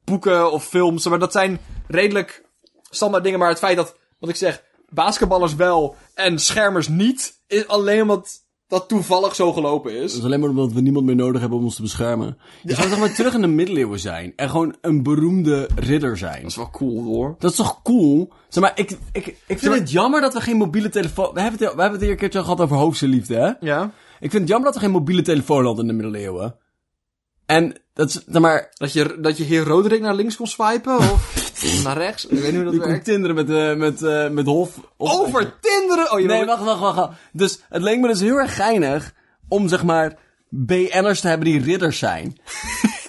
Speaker 2: boeken of films, maar dat zijn redelijk standaard dingen. Maar het feit dat, wat ik zeg, basketballers wel en schermers niet, is alleen omdat dat toevallig zo gelopen
Speaker 1: Dat
Speaker 2: is.
Speaker 1: is alleen maar omdat we niemand meer nodig hebben om ons te beschermen. Je zou toch maar terug in de middeleeuwen zijn. En gewoon een beroemde ridder zijn.
Speaker 2: wel cool hoor.
Speaker 1: Dat is toch cool? Zeg maar, ik, ik, ik vind het jammer dat we geen mobiele telefoon... We hebben het, we hebben het hier een keertje gehad over hoofdse liefde, hè?
Speaker 2: Ja.
Speaker 1: Ik vind het jammer dat we geen mobiele telefoon hadden in de middeleeuwen. En dat is, zeg maar...
Speaker 2: Dat je, dat je heer Roderick naar links kon swipen of naar rechts. Ik weet niet hoe
Speaker 1: Je
Speaker 2: dat
Speaker 1: kon
Speaker 2: werkt.
Speaker 1: tinderen met, eh, met, eh, met hof. hof-
Speaker 2: Over Tinderen! Oh, je
Speaker 1: Nee,
Speaker 2: wil-
Speaker 1: wacht, wacht, wacht. wacht. Dus het leek me dus heel erg geinig om, zeg maar, BN'ers te hebben die ridders zijn.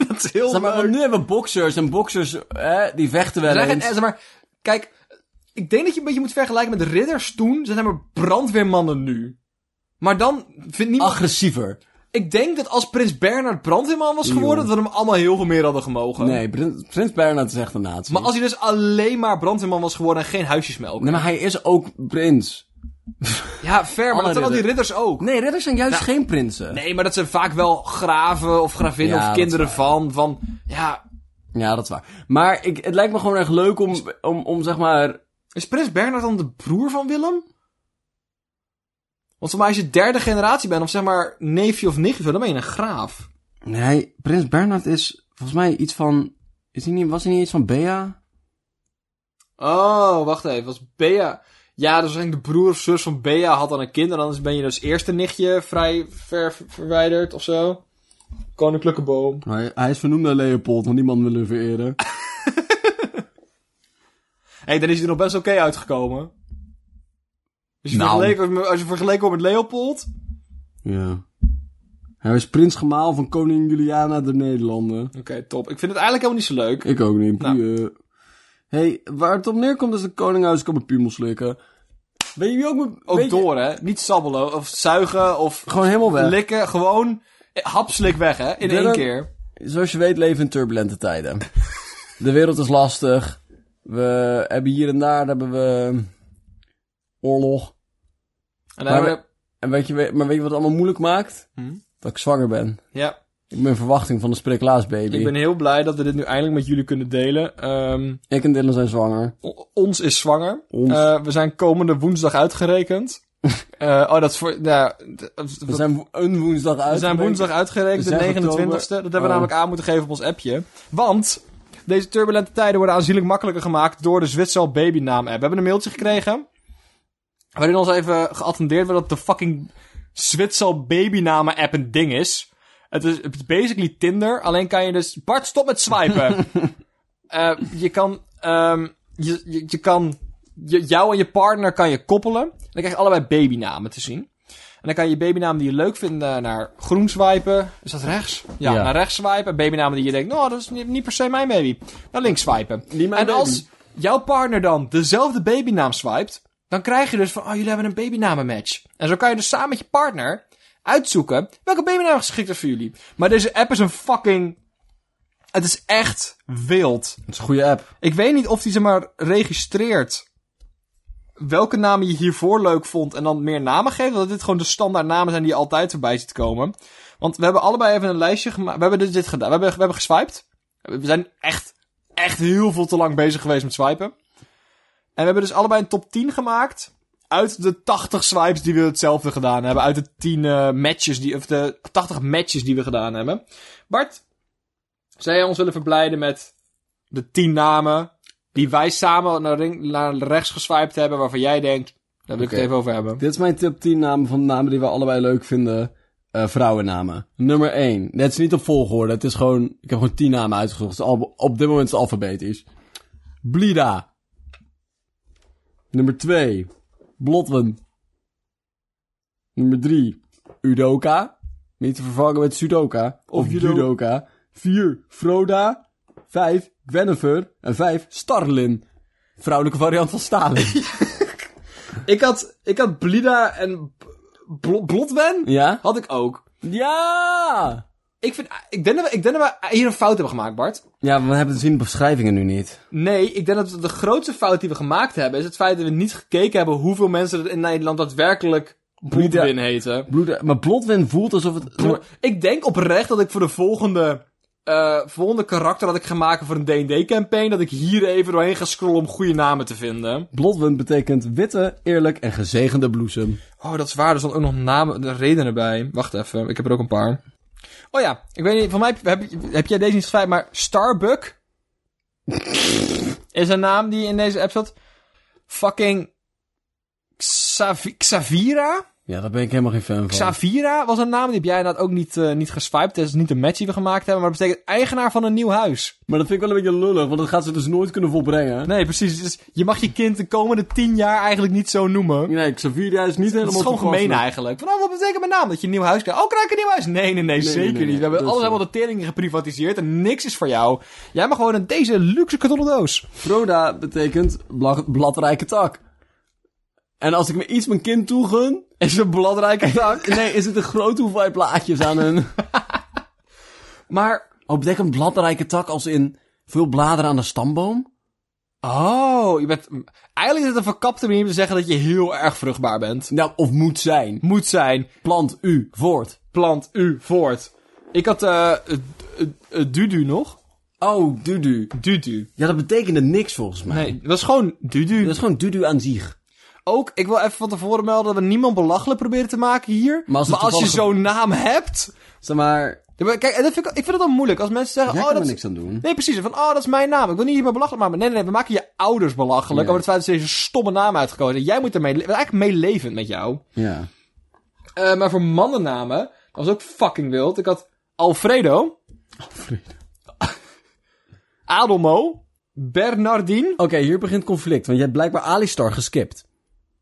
Speaker 2: dat is heel
Speaker 1: Zeg maar, want nu hebben we boxers en boxers, hè, die vechten wel
Speaker 2: Zeg het,
Speaker 1: eens.
Speaker 2: eh, zeg maar, kijk, ik denk dat je een beetje moet vergelijken met de ridders toen. Ze zijn maar brandweermannen nu. Maar dan vindt niemand...
Speaker 1: Agressiever.
Speaker 2: Ik denk dat als prins Bernard brandweerman was geworden, dat we hem allemaal heel veel meer hadden gemogen.
Speaker 1: Nee, Prins, Prins Bernhard is echt een nazi.
Speaker 2: Maar als hij dus alleen maar brandweerman was geworden en geen huisjesmelk.
Speaker 1: Nee, maar hij is ook prins.
Speaker 2: Ja, fair, maar
Speaker 1: Alle
Speaker 2: dat zijn al die ridders ook.
Speaker 1: Nee, ridders zijn juist geen prinsen.
Speaker 2: Nee, maar dat zijn vaak wel graven of gravinnen
Speaker 1: Ja,
Speaker 2: of
Speaker 1: dat
Speaker 2: kinderen van. Van, ja...
Speaker 1: Ja, dat is waar. Maar ik, het lijkt me gewoon erg leuk om, om, om zeg maar...
Speaker 2: Is prins Bernard dan de broer van Willem? Want voor mij als je derde generatie bent, of zeg maar neefje of nichtje, dan ben je een graaf.
Speaker 1: Nee, Prins Bernhard is volgens mij iets van... Is hij niet, was hij niet iets van Bea?
Speaker 2: Oh, wacht even. Was Bea... Ja, dus eigenlijk de broer of zus van Bea had dan een kind. En anders ben je dus eerste nichtje vrij ver ver- verwijderd of zo. Koninklijke boom.
Speaker 1: Hij, hij is vernoemd naar Leopold, want niemand wil hem vereren.
Speaker 2: Hé, hey, dan is hij er nog best oké uitgekomen. Als je,
Speaker 1: Nou.
Speaker 2: vergeleken wordt met- als je vergeleken wordt met Leopold...
Speaker 1: Ja. Hij was prins gemaal van koningin Juliana der Nederlanden.
Speaker 2: Oké, top. Ik vind het eigenlijk helemaal niet zo leuk.
Speaker 1: Ik ook niet.
Speaker 2: Nou.
Speaker 1: Hé, hey, waar het op neerkomt is dat koninghuis kan mijn piemel slikken. Weet je wie ook... met-
Speaker 2: Ook
Speaker 1: weet je-
Speaker 2: door, hè. Niet sabbelen of zuigen of
Speaker 1: Gewoon helemaal weg.
Speaker 2: likken. Gewoon eh, hapslik weg, hè. In één
Speaker 1: Dylan-
Speaker 2: keer.
Speaker 1: Zoals je weet leven we in turbulente tijden. De wereld is lastig. We hebben hier en daar hebben we oorlog.
Speaker 2: En dan
Speaker 1: Maar
Speaker 2: hebben we...
Speaker 1: En weet je, we- maar weet je wat het allemaal moeilijk maakt?
Speaker 2: Hm?
Speaker 1: Dat ik zwanger ben.
Speaker 2: Ja.
Speaker 1: Ik ben in verwachting van de Spreeklaas baby.
Speaker 2: Ik ben heel blij dat we dit nu eindelijk met jullie kunnen delen. Ehm...
Speaker 1: Ik en Dylan zijn zwanger.
Speaker 2: O- Ons is zwanger.
Speaker 1: Ons.
Speaker 2: Eh, we zijn komende woensdag uitgerekend. Eh, oh, dat is voor. Nou, d-
Speaker 1: We zijn wo- een woensdag uit.
Speaker 2: we zijn woensdag uitgerekend,
Speaker 1: We
Speaker 2: de
Speaker 1: zijn
Speaker 2: 29 e Dat hebben we
Speaker 1: Oh.
Speaker 2: namelijk aan moeten geven op ons appje. Want deze turbulente tijden worden aanzienlijk makkelijker gemaakt door de Zwitserl Babynaam app. We hebben een mailtje gekregen. Waarin ons even geattendeerd werd dat de fucking Zwitserl Babynamen app een ding is. Het is het is basically Tinder, alleen kan je dus. Bart, stop met swipen! Eh, je kan. ehm, je, je, je kan. Je, jou en je partner kan je koppelen. En dan krijg je allebei babynamen te zien. En dan kan je je babynaam die je leuk vindt eh, naar groen swipen. Is dat rechts? Ja,
Speaker 1: Ja.
Speaker 2: naar rechts swipen. En Babynamen die je denkt, nou, dat is niet, niet per se mijn baby. Naar links swipen.
Speaker 1: Niet mijn
Speaker 2: en
Speaker 1: baby.
Speaker 2: als jouw partner dan dezelfde babynaam swipt, dan krijg je dus van, oh, jullie hebben een babynamenmatch. En zo kan je dus samen met je partner uitzoeken welke babynaam geschikt is voor jullie. Maar deze app is een fucking... Het is echt wild.
Speaker 1: Het is een goede app.
Speaker 2: Ik weet niet of die ze maar registreert welke namen je hiervoor leuk vond en dan meer namen geeft. Dat dit gewoon de standaard namen zijn die je altijd voorbij ziet komen. Want we hebben allebei even een lijstje gemaakt. We hebben dus dit gedaan. We hebben, we hebben geswiped. We zijn echt, echt heel veel te lang bezig geweest met swipen. En we hebben dus allebei een top 10 gemaakt. Uit de 80 swipes die we hetzelfde gedaan hebben. Uit de 10 eh, matches die, of de 80 matches die we gedaan hebben. Bart, zou jij ons willen verblijden met de 10 namen die wij samen naar, ring- naar rechts geswiped hebben, waarvan jij denkt, daar wil ik
Speaker 1: Oké.
Speaker 2: het even over hebben.
Speaker 1: Dit is mijn tip 10 namen van namen die we allebei leuk vinden. Eh, vrouwennamen. Nummer 1. Dat is niet op volgorde. Het is gewoon... Ik heb gewoon 10 namen uitgezocht. Het is al- op dit moment is het alfabetisch. Blida. Nummer 2. Blotwen. Nummer 3. Udoka. Niet te vervangen met Sudoka. Of,
Speaker 2: Of judo.
Speaker 1: Judoka. 4. Froda. 5. Gwennifer. En 5. Starlin. Vrouwelijke variant van Stalin.
Speaker 2: Ik had, ik had Blida en B- Bl- Blotwen,
Speaker 1: ja?
Speaker 2: had ik ook.
Speaker 1: Ja!
Speaker 2: Ik, vind, ik, denk dat we, ik denk dat we hier een fout hebben gemaakt, Bart.
Speaker 1: Ja, we hebben het zien de beschrijvingen nu niet.
Speaker 2: Nee, ik denk dat de grootste fout die we gemaakt hebben, is het feit dat we niet gekeken hebben hoeveel mensen er in Nederland daadwerkelijk Blotwen heten.
Speaker 1: Bloed, maar Blotwin voelt alsof het...
Speaker 2: Ik denk oprecht dat ik voor de volgende eh, volgende karakter dat ik ga maken voor een D&D-campaign... dat ik hier even doorheen ga scrollen om goede namen te vinden.
Speaker 1: Blotwend betekent witte, eerlijk en gezegende bloesem.
Speaker 2: Oh, dat is waar. Er staan ook nog namen, de redenen bij. Wacht even, ik heb er ook een paar. Oh ja, ik weet niet, van mij heb, heb jij deze niet gevraagd, maar Starbuck is een naam die in deze app zat. Fucking Xavi- Xavira?
Speaker 1: Ja, daar ben ik helemaal geen fan van.
Speaker 2: Xavira was een naam, die heb jij inderdaad ook niet, eh, niet geswiped. Dat is niet een match die we gemaakt hebben, maar dat betekent eigenaar van een nieuw huis.
Speaker 1: Maar dat vind ik wel een beetje lullig, want dat gaat ze dus nooit kunnen volbrengen.
Speaker 2: Nee, precies. Dus je mag je kind de komende tien jaar eigenlijk niet zo noemen.
Speaker 1: Nee, Xavier is niet helemaal
Speaker 2: Dat is gewoon
Speaker 1: toepasselijk.
Speaker 2: gemeen eigenlijk. Van, oh, wat betekent mijn naam? Dat je een nieuw huis krijgt. Oh, krijg ik een nieuw huis? Nee, nee, nee, zeker
Speaker 1: nee, nee.
Speaker 2: niet. We hebben
Speaker 1: Dat
Speaker 2: alles
Speaker 1: is-
Speaker 2: helemaal de teringen geprivatiseerd en niks is voor jou. Jij mag gewoon in deze luxe kartonnen doos.
Speaker 1: Froda betekent bla- bladrijke tak. En als ik me iets mijn kind toegun...
Speaker 2: Is een belangrijke tak.
Speaker 1: Nee, is het een grote hoeveelheid blaadjes aan een...
Speaker 2: Maar,
Speaker 1: Oh, betekent bladrijke tak als in veel bladeren aan de stamboom?
Speaker 2: oh, je bent... Eigenlijk is het een verkapte manier om te zeggen dat je heel erg vruchtbaar bent.
Speaker 1: Nou, of moet zijn.
Speaker 2: Moet zijn.
Speaker 1: Plant u voort.
Speaker 2: Plant u voort. Ik had, eh, eh, eh, eh, Dudu nog.
Speaker 1: Oh, dudu.
Speaker 2: Dudu.
Speaker 1: Ja, dat betekende niks volgens mij.
Speaker 2: Nee, dat is gewoon Dudu.
Speaker 1: Dat is gewoon dudu aan zich.
Speaker 2: Ook, ik wil even van tevoren melden dat we niemand belachelijk proberen te maken hier.
Speaker 1: Maar als het
Speaker 2: je
Speaker 1: toevallig-
Speaker 2: zo'n naam hebt...
Speaker 1: Zeg maar,
Speaker 2: Ja, maar kijk, en dat vind ik, ik vind het dan moeilijk als mensen zeggen...
Speaker 1: jij
Speaker 2: oh,
Speaker 1: kan
Speaker 2: dat
Speaker 1: er
Speaker 2: is-
Speaker 1: niks aan doen.
Speaker 2: Nee, precies. Van, oh, dat is mijn naam. Ik wil niet meer belachelijk maken. Nee, nee, nee. We maken je ouders belachelijk
Speaker 1: Ja.
Speaker 2: over het feit dat ze deze stomme naam uitgekozen hebben. Jij moet ermee... le- we zijn eigenlijk meelevend met jou.
Speaker 1: Ja.
Speaker 2: Eh, maar voor mannennamen... Dat was ook fucking wild. Ik had Alfredo.
Speaker 1: Alfredo.
Speaker 2: Adelmo. Bernardine.
Speaker 1: Oké, hier begint conflict, want je hebt blijkbaar Alistar geskipt.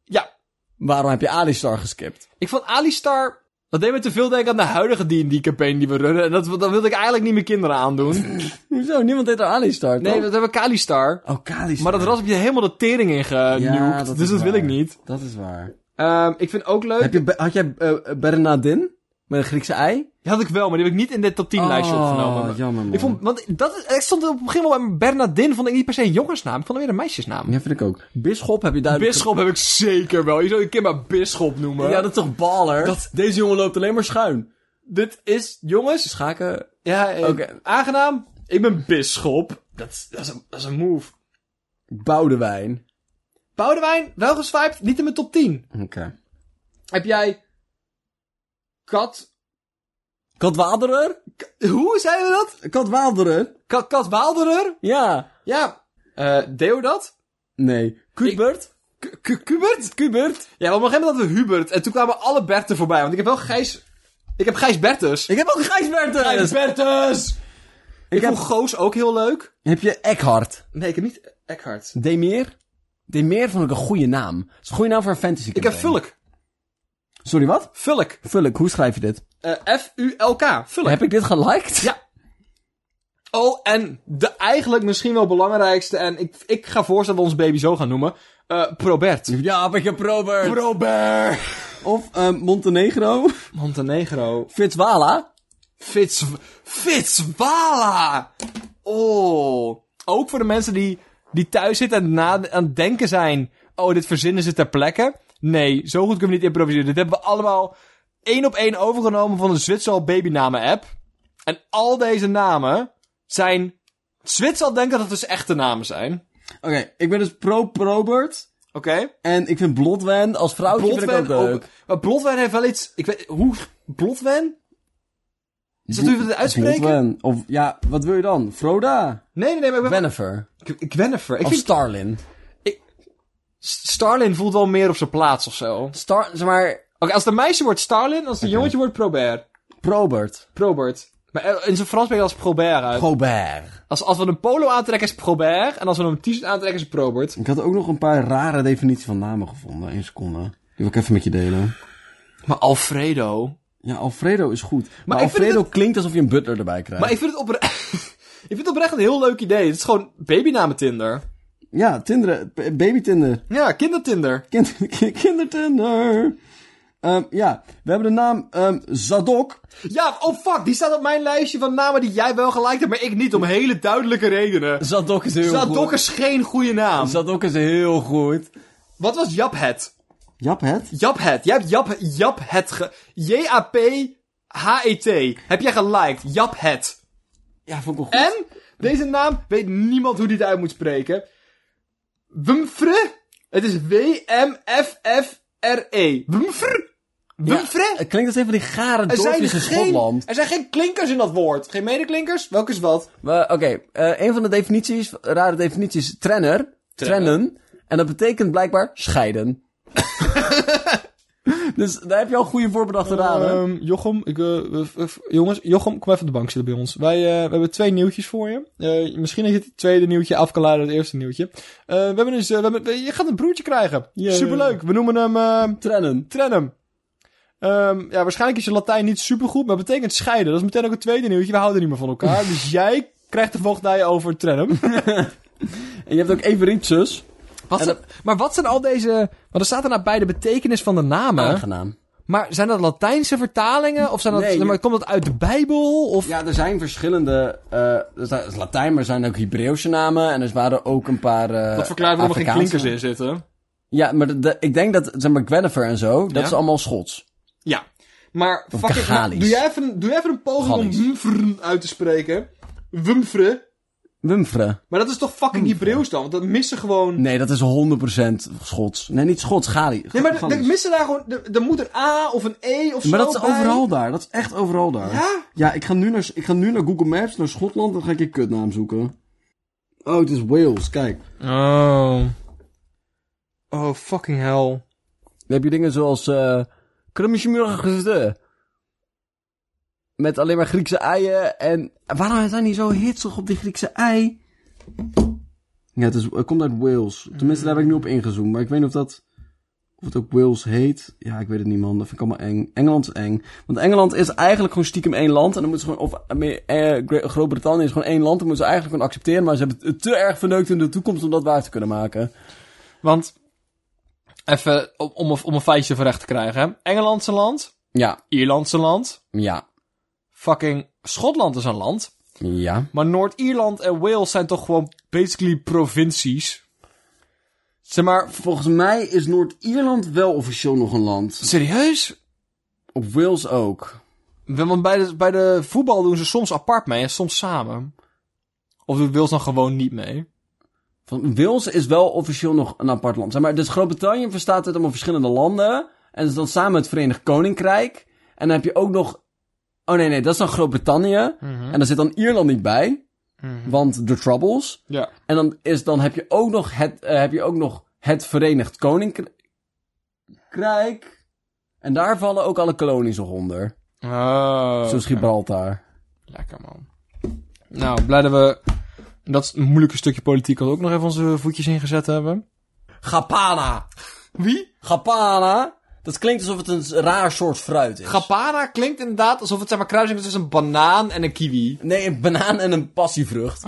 Speaker 2: Ja.
Speaker 1: Waarom heb je Alistar geskipt?
Speaker 2: Ik vond Alistar... Dat deed me te veel denken aan de huidige D&D-campaign die we runnen. En dat, dat wilde ik eigenlijk niet mijn kinderen aandoen.
Speaker 1: Hoezo? Niemand deed er Alistar,
Speaker 2: Nee, dat heb ik Alistar.
Speaker 1: Oh, Kalistar.
Speaker 2: Maar dat ras heb je helemaal de tering in
Speaker 1: Ja,
Speaker 2: genukt.
Speaker 1: dat
Speaker 2: dus
Speaker 1: is
Speaker 2: dat wil
Speaker 1: waar.
Speaker 2: ik niet.
Speaker 1: Dat is waar.
Speaker 2: Ehm, ik vind ook leuk.
Speaker 1: Heb je, Be- had jij eh, Bernardin? Met een Griekse ei?
Speaker 2: Die had ik wel, maar die heb ik niet in de top 10 lijstje opgenomen.
Speaker 1: Oh, jammer man.
Speaker 2: Ik vond, want dat is- ik stond op het begin wel bij mijn Bernardin, vond ik niet per se een jongensnaam, ik vond hem weer een meisjesnaam.
Speaker 1: Ja, vind ik ook. Bisschop heb je duidelijk...
Speaker 2: Bisschop heb ik zeker wel. Je zou je kind maar Bisschop noemen.
Speaker 1: Ja, dat is toch baller?
Speaker 2: Dat-
Speaker 1: Deze jongen loopt alleen maar schuin.
Speaker 2: Dit is, jongens,
Speaker 1: Schaken...
Speaker 2: ja, eh,
Speaker 1: Oké.
Speaker 2: aangenaam. Ik ben Bisschop. Dat, is- dat, is een, dat is een move.
Speaker 1: Boudewijn.
Speaker 2: Boudewijn, wel geswiped, niet in mijn top 10.
Speaker 1: Oké.
Speaker 2: Heb jij. Kat.
Speaker 1: Katwaderer?
Speaker 2: Hoe zeiden we dat?
Speaker 1: Katwaderer?
Speaker 2: Kat, Kat Waalderer?
Speaker 1: Ja.
Speaker 2: Ja. Eh Deodat?
Speaker 1: Nee. Kubert?
Speaker 2: K- K- Kubert?
Speaker 1: Kubert?
Speaker 2: Ja, want op een gegeven moment hadden we Hubert. En toen kwamen alle Berten voorbij. Want ik heb wel Gijs... Ik heb Gijs Bertus.
Speaker 1: Ik heb ook eh. Gijs
Speaker 2: Gijs
Speaker 1: Bertens!
Speaker 2: Bertus! Ik,
Speaker 1: Ik heb...
Speaker 2: vond Goos ook heel leuk.
Speaker 1: Heb je Eckhart?
Speaker 2: Nee, ik heb niet Eckhart.
Speaker 1: Demeer? Demeer vond ik een goede naam. Dat is een goede naam voor een fantasy
Speaker 2: Ik heb
Speaker 1: campaign.
Speaker 2: Vulk.
Speaker 1: Sorry, wat?
Speaker 2: Vulk.
Speaker 1: Vulk, hoe schrijf je dit?
Speaker 2: Eh, F-U-L-K. Vulk.
Speaker 1: Heb ik dit geliked?
Speaker 2: Ja. Oh, en de eigenlijk misschien wel belangrijkste... En ik, ik ga voorstellen dat we ons baby zo gaan noemen. eh, Probert.
Speaker 1: Ja, ik heb Robert.
Speaker 2: Probert.
Speaker 1: Of ehm, Montenegro.
Speaker 2: Montenegro.
Speaker 1: Fitzwala.
Speaker 2: Fitz... Fitzwala! Oh. Ook voor de mensen die, die thuis zitten en na, aan het denken zijn... Oh, dit verzinnen ze ter plekke. Nee, zo goed kunnen we niet improviseren. Dit hebben we allemaal één op één overgenomen van de Zwitserl babynamen app. En al deze namen zijn... Zwitserl denken dat het dus echte namen zijn.
Speaker 1: Oké, ik ben dus pro-Probert.
Speaker 2: Oké?
Speaker 1: En ik vind Blotwen als vrouwtje Oh, vind ik ook leuk.
Speaker 2: ook- Maar Blotwen heeft wel iets... Ik weet... Hoe... Blotwen? Is dat hoe we het uitspreken?
Speaker 1: Blotwen. Of ja, wat wil je dan? Froda?
Speaker 2: Nee, nee, nee, maar ik ben...
Speaker 1: Wennifer.
Speaker 2: Gwennifer. Ik
Speaker 1: Of
Speaker 2: vind
Speaker 1: Starlin.
Speaker 2: S- Starlin voelt wel meer op zijn plaats of zo. Oké,
Speaker 1: Star, zeg maar,
Speaker 2: als de meisje wordt Starlin, als de jongetje wordt Probert.
Speaker 1: Probert.
Speaker 2: Probert. Maar eh, in zijn Frans ben je als Probert uit.
Speaker 1: Probert.
Speaker 2: Als, als we een polo aantrekken is Probert. En als we een t-shirt aantrekken is Probert.
Speaker 1: Ik had ook nog een paar rare definities van namen gevonden. Eén seconde. Die wil ik even met je delen.
Speaker 2: Maar Alfredo.
Speaker 1: Ja, Alfredo is goed. Maar,
Speaker 2: ik vind
Speaker 1: Alfredo klinkt alsof je een butler erbij krijgt.
Speaker 2: Maar ik vind het oprecht. ik vind het oprecht een heel leuk idee. Het is gewoon babynamen Tinder.
Speaker 1: Ja, Tinder, baby Tinder.
Speaker 2: Ja, kindertinder.
Speaker 1: Kind, kindertender. Ehm, ja, we hebben de naam ehm, Zadok.
Speaker 2: Ja, oh fuck, die staat op mijn lijstje van namen die jij wel gelijk hebt, maar ik niet, om hele duidelijke redenen.
Speaker 1: Zadok is heel
Speaker 2: Zadok is geen goede naam.
Speaker 1: Zadok is heel goed.
Speaker 2: Wat was Japhet?
Speaker 1: Jap het?
Speaker 2: Japhet. Jij hebt Jap, E Japhet ge... J-A-P-H-E-T. Heb jij geliked. Japhet.
Speaker 1: Ja, vond ik wel goed.
Speaker 2: En deze naam weet niemand hoe die het uit moet spreken. Wumfre. Het is W-M-F-F-R-E. E. Wumfre. Wumfre.
Speaker 1: Het klinkt als een van die gare
Speaker 2: Er zijn,
Speaker 1: dorpjes in
Speaker 2: geen,
Speaker 1: Schotland.
Speaker 2: er zijn geen klinkers in dat woord. Geen medeklinkers? Welke is wat?
Speaker 1: Maar Oké, eh, een van de definities, rare definities, trenner. Trennen. En dat betekent blijkbaar scheiden. dus daar heb je al een goede voorbedachte raden.
Speaker 4: Ehm, Jochem, ik, eh, eh, eh, jongens, Jochem, kom even op de bank zitten bij ons. Wij, eh, we hebben twee nieuwtjes voor je. Eh, misschien dat je het tweede nieuwtje af kan leiden uit het eerste nieuwtje. Eh, we hebben dus, eh, we hebben, je gaat een broertje krijgen.
Speaker 1: Yay.
Speaker 4: Superleuk. We noemen hem eh
Speaker 1: Trennen.
Speaker 4: Trenum. Ehm, ja, waarschijnlijk is je Latijn niet supergoed, maar het betekent scheiden. Dat is meteen ook het tweede nieuwtje. We houden niet meer van elkaar. dus jij krijgt de voogdij over Trenum.
Speaker 1: En je hebt ook Everitsus. En dat-
Speaker 4: maar wat zijn al deze... Want er staat er nou bij de betekenis van de namen.
Speaker 1: Aangenaam.
Speaker 4: Maar zijn dat Latijnse vertalingen? Of zijn dat,
Speaker 1: Nee, je-
Speaker 4: maar komt dat uit de Bijbel? Of...
Speaker 1: Ja, er zijn verschillende... eh er zijn- is Latijn, maar er zijn ook Hebreeuwse namen. En er waren ook een paar eh
Speaker 2: dat verklaart waarom er geen
Speaker 1: Afrikaanse.
Speaker 2: klinkers in zitten.
Speaker 1: Ja, maar de- de- ik denk dat, zeg maar, Gwennifer en zo, dat
Speaker 2: Ja?
Speaker 1: is allemaal Schots.
Speaker 2: Ja. Maar
Speaker 1: Of
Speaker 2: fucking,
Speaker 1: Gagalisch.
Speaker 2: doe, jij even, een- doe jij even een poging
Speaker 1: Gallisch.
Speaker 2: om wumfre uit te spreken. Wumfre.
Speaker 1: Wimfre.
Speaker 2: Maar dat is toch fucking Hebreeuws dan? Want dat missen gewoon...
Speaker 1: Nee, dat is 100% Schots. Nee, niet Schots, Gali.
Speaker 2: Nee, maar
Speaker 1: Gallisch.
Speaker 2: er missen daar gewoon... er- Er moet een A of een E of zo
Speaker 1: Maar dat is
Speaker 2: bij.
Speaker 1: overal daar. Dat is echt overal daar.
Speaker 2: Ja?
Speaker 1: Ja, ik ga nu naar, ik ga nu naar Google Maps, naar Schotland, dan ga ik je kutnaam zoeken. Oh, het is Wales, kijk.
Speaker 4: Oh. Oh, fucking hell.
Speaker 1: Dan heb je dingen zoals... eh Krummisjemurgezde. Met alleen maar Griekse eieren en... Waarom zijn die zo hitsig op die Griekse ei? Ja, het, is, het komt uit Wales. Tenminste, daar heb ik nu op ingezoomd. Maar ik weet niet of dat... Of het ook Wales heet. Ja, ik weet het niet, man. Dat vind ik allemaal eng. Engeland is eng. Want Engeland is eigenlijk gewoon stiekem één land. En dan moeten ze gewoon... Of eh, eh, Gro- Groot-Brittannië is gewoon één land. Dan moeten ze eigenlijk gewoon accepteren. Maar ze hebben het te erg verneukt in de toekomst om dat waar te kunnen maken.
Speaker 2: Want... Even om, om, een- om een feitje van recht te krijgen. hè. Engelandse land.
Speaker 1: Ja.
Speaker 2: Ierlandse land.
Speaker 1: Ja.
Speaker 2: Fucking Schotland is een land.
Speaker 1: Ja.
Speaker 2: Maar Noord-Ierland en Wales zijn toch gewoon basically provincies? Zeg maar...
Speaker 1: Volgens mij is Noord-Ierland wel officieel nog een land.
Speaker 2: Serieus?
Speaker 1: Op Wales ook.
Speaker 2: Want bij de, bij de voetbal doen ze soms apart mee en soms samen. Of doet Wales dan gewoon niet mee?
Speaker 1: Van Wales is wel officieel nog een apart land. Zeg maar, dus Groot-Brittannië bestaat uit allemaal verschillende landen. En is dan samen het Verenigd Koninkrijk. En dan heb je ook nog... Oh nee, nee, dat is dan Groot-Brittannië.
Speaker 2: Mhm,
Speaker 1: En daar zit dan Ierland niet bij. Want de Troubles.
Speaker 2: Ja.
Speaker 1: En dan, is, dan heb, je ook nog het, eh, heb je ook nog het Verenigd Koninkrijk. En daar vallen ook alle kolonies nog onder.
Speaker 2: Oh.
Speaker 1: Zoals Gibraltar.
Speaker 2: Lekker man. Nou, blij dat we dat moeilijke stukje politiek ook nog even onze voetjes ingezet hebben.
Speaker 1: Gapana.
Speaker 2: Wie?
Speaker 1: Gapana. Dat klinkt alsof het een raar soort fruit is.
Speaker 2: Gapana klinkt inderdaad alsof het zeg maar kruising is tussen een banaan en een kiwi.
Speaker 1: nee, een banaan en een passievrucht.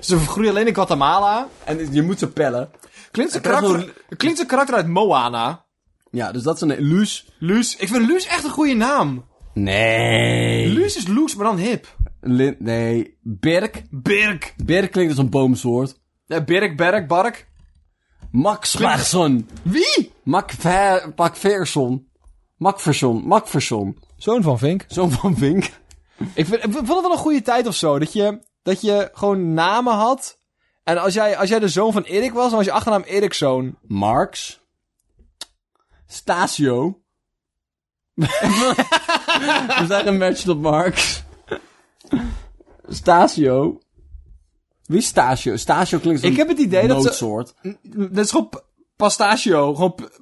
Speaker 2: Ze groeien alleen in Guatemala.
Speaker 1: En je moet ze pellen.
Speaker 2: Klinkt zijn
Speaker 1: Het krijgt
Speaker 2: karakter, klinkt zijn karakter uit Moana.
Speaker 1: Ja, dus dat is een luus.
Speaker 2: Luus. Ik vind Luus echt een goede naam.
Speaker 1: Nee.
Speaker 2: Luus is Luus, maar dan hip.
Speaker 1: Lin- nee, berk.
Speaker 2: Birk.
Speaker 1: Berk klinkt als een boomsoort.
Speaker 2: Ja, Birk, Berk, Bark.
Speaker 1: Max Slagson.
Speaker 2: Wie?
Speaker 1: Macverson. Macverson. Macverson. Macverson.
Speaker 4: Zoon van Vink.
Speaker 1: Zoon van Vink.
Speaker 4: Ik, vind, ik vond het wel een goede tijd of zo. Dat je, dat je gewoon namen had. En als jij, als jij de zoon van Erik was, dan was je achternaam Erikzoon.
Speaker 1: Marx. Stasio. We zijn een match op Marx. Stasio. Wie is Stasio? Stasio klinkt als
Speaker 4: Ik heb het idee dat ze-
Speaker 1: noodsoort.
Speaker 2: Dat is gewoon p- pistachio. Gewoon p-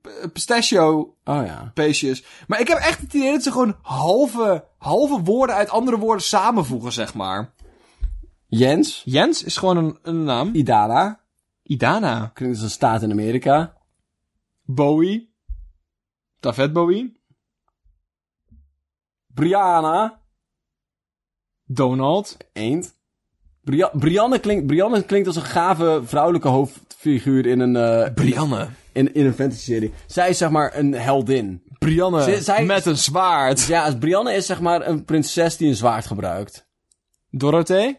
Speaker 2: p- pistachio
Speaker 1: Oh ja.
Speaker 2: peesjes. Maar ik heb echt het idee dat ze gewoon halve, halve woorden uit andere woorden samenvoegen, zeg maar.
Speaker 1: Jens.
Speaker 2: Jens is gewoon een, een naam.
Speaker 1: Idana.
Speaker 2: Idana.
Speaker 1: Klinkt als een staat in Amerika.
Speaker 2: Bowie. Davet Bowie.
Speaker 1: Brianna.
Speaker 2: Donald.
Speaker 1: Eend. Bria- Brianne, klinkt, Brianne klinkt als een gave vrouwelijke hoofdfiguur in een, eh,
Speaker 2: Brianne.
Speaker 1: in, in een fantasy-serie. Zij is zeg maar een heldin.
Speaker 2: Brianne.
Speaker 1: Ze- zij-
Speaker 2: met een zwaard.
Speaker 1: Ja, als Brianne is zeg maar een prinses die een zwaard gebruikt.
Speaker 2: Dorothee?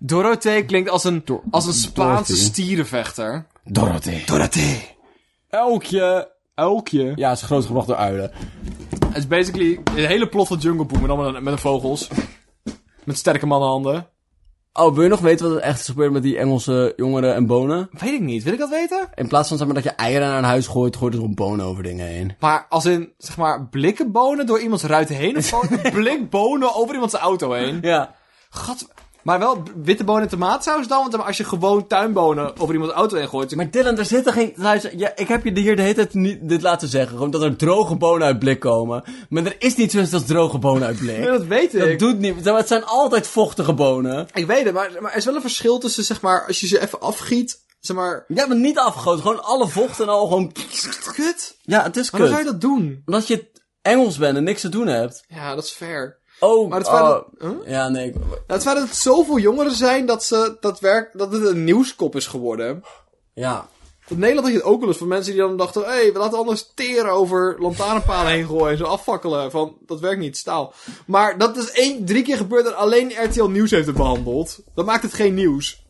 Speaker 2: Dorothee klinkt als een, als een Spaanse
Speaker 1: Dorothy.
Speaker 2: stierenvechter.
Speaker 1: Dorothee.
Speaker 2: Dorothee.
Speaker 1: Elkje.
Speaker 2: Elkje.
Speaker 1: Ja, is grootgebracht door uilen.
Speaker 2: Het is basically een hele plot van Jungle Book, maar dan met, met de vogels. Met sterke mannenhanden.
Speaker 1: Oh, wil je nog weten wat er echt is gebeurd met die Engelse jongeren en bonen?
Speaker 2: Weet ik niet. Wil ik dat weten?
Speaker 1: In plaats van zeg maar, dat je eieren naar een huis gooit, gooit er gewoon bonen over dingen heen.
Speaker 2: Maar als in, zeg maar, blikken bonen door iemands ruit heen of gewoon een blik bonen over iemands auto heen.
Speaker 1: Ja.
Speaker 2: Gad, maar wel b- witte bonen en tomaatsaus dan, want als je gewoon tuinbonen over iemands auto heen gooit...
Speaker 1: Maar Dylan, er zitten geen... Luister, ja, ik heb je hier de hele tijd niet dit laten zeggen. Gewoon dat er droge bonen uit blik komen. Maar er is niet zoiets als droge bonen uit blik.
Speaker 2: Nee, dat weet ik.
Speaker 1: Dat doet niet. zeg maar, Het zijn altijd vochtige bonen.
Speaker 2: Ik weet het, maar, maar er is wel een verschil tussen, zeg maar, als je ze even afgiet, zeg maar...
Speaker 1: Ja, maar niet afgegoten. Gewoon alle vocht en al gewoon...
Speaker 2: Kut!
Speaker 1: Ja, het is
Speaker 2: Waarom zou
Speaker 1: kut.
Speaker 2: je dat doen?
Speaker 1: Omdat je Engels bent en niks te doen hebt.
Speaker 2: Ja, dat is fair.
Speaker 1: Oh,
Speaker 2: Maar het
Speaker 1: oh.
Speaker 2: waren- Huh?
Speaker 1: Ja, nee. ik-
Speaker 2: Nou, het feit dat het zoveel jongeren zijn dat, ze, dat, werk, dat het een nieuwskop is geworden.
Speaker 1: Ja.
Speaker 2: In Nederland had je het ook wel eens van mensen die dan dachten... Hé, hey, we laten anders teren over lantaarnpalen heen gooien en zo afvakkelen. Van, dat werkt niet, staal. Maar dat is één, drie keer gebeurd en alleen RTL Nieuws heeft het behandeld. Dan maakt het geen nieuws.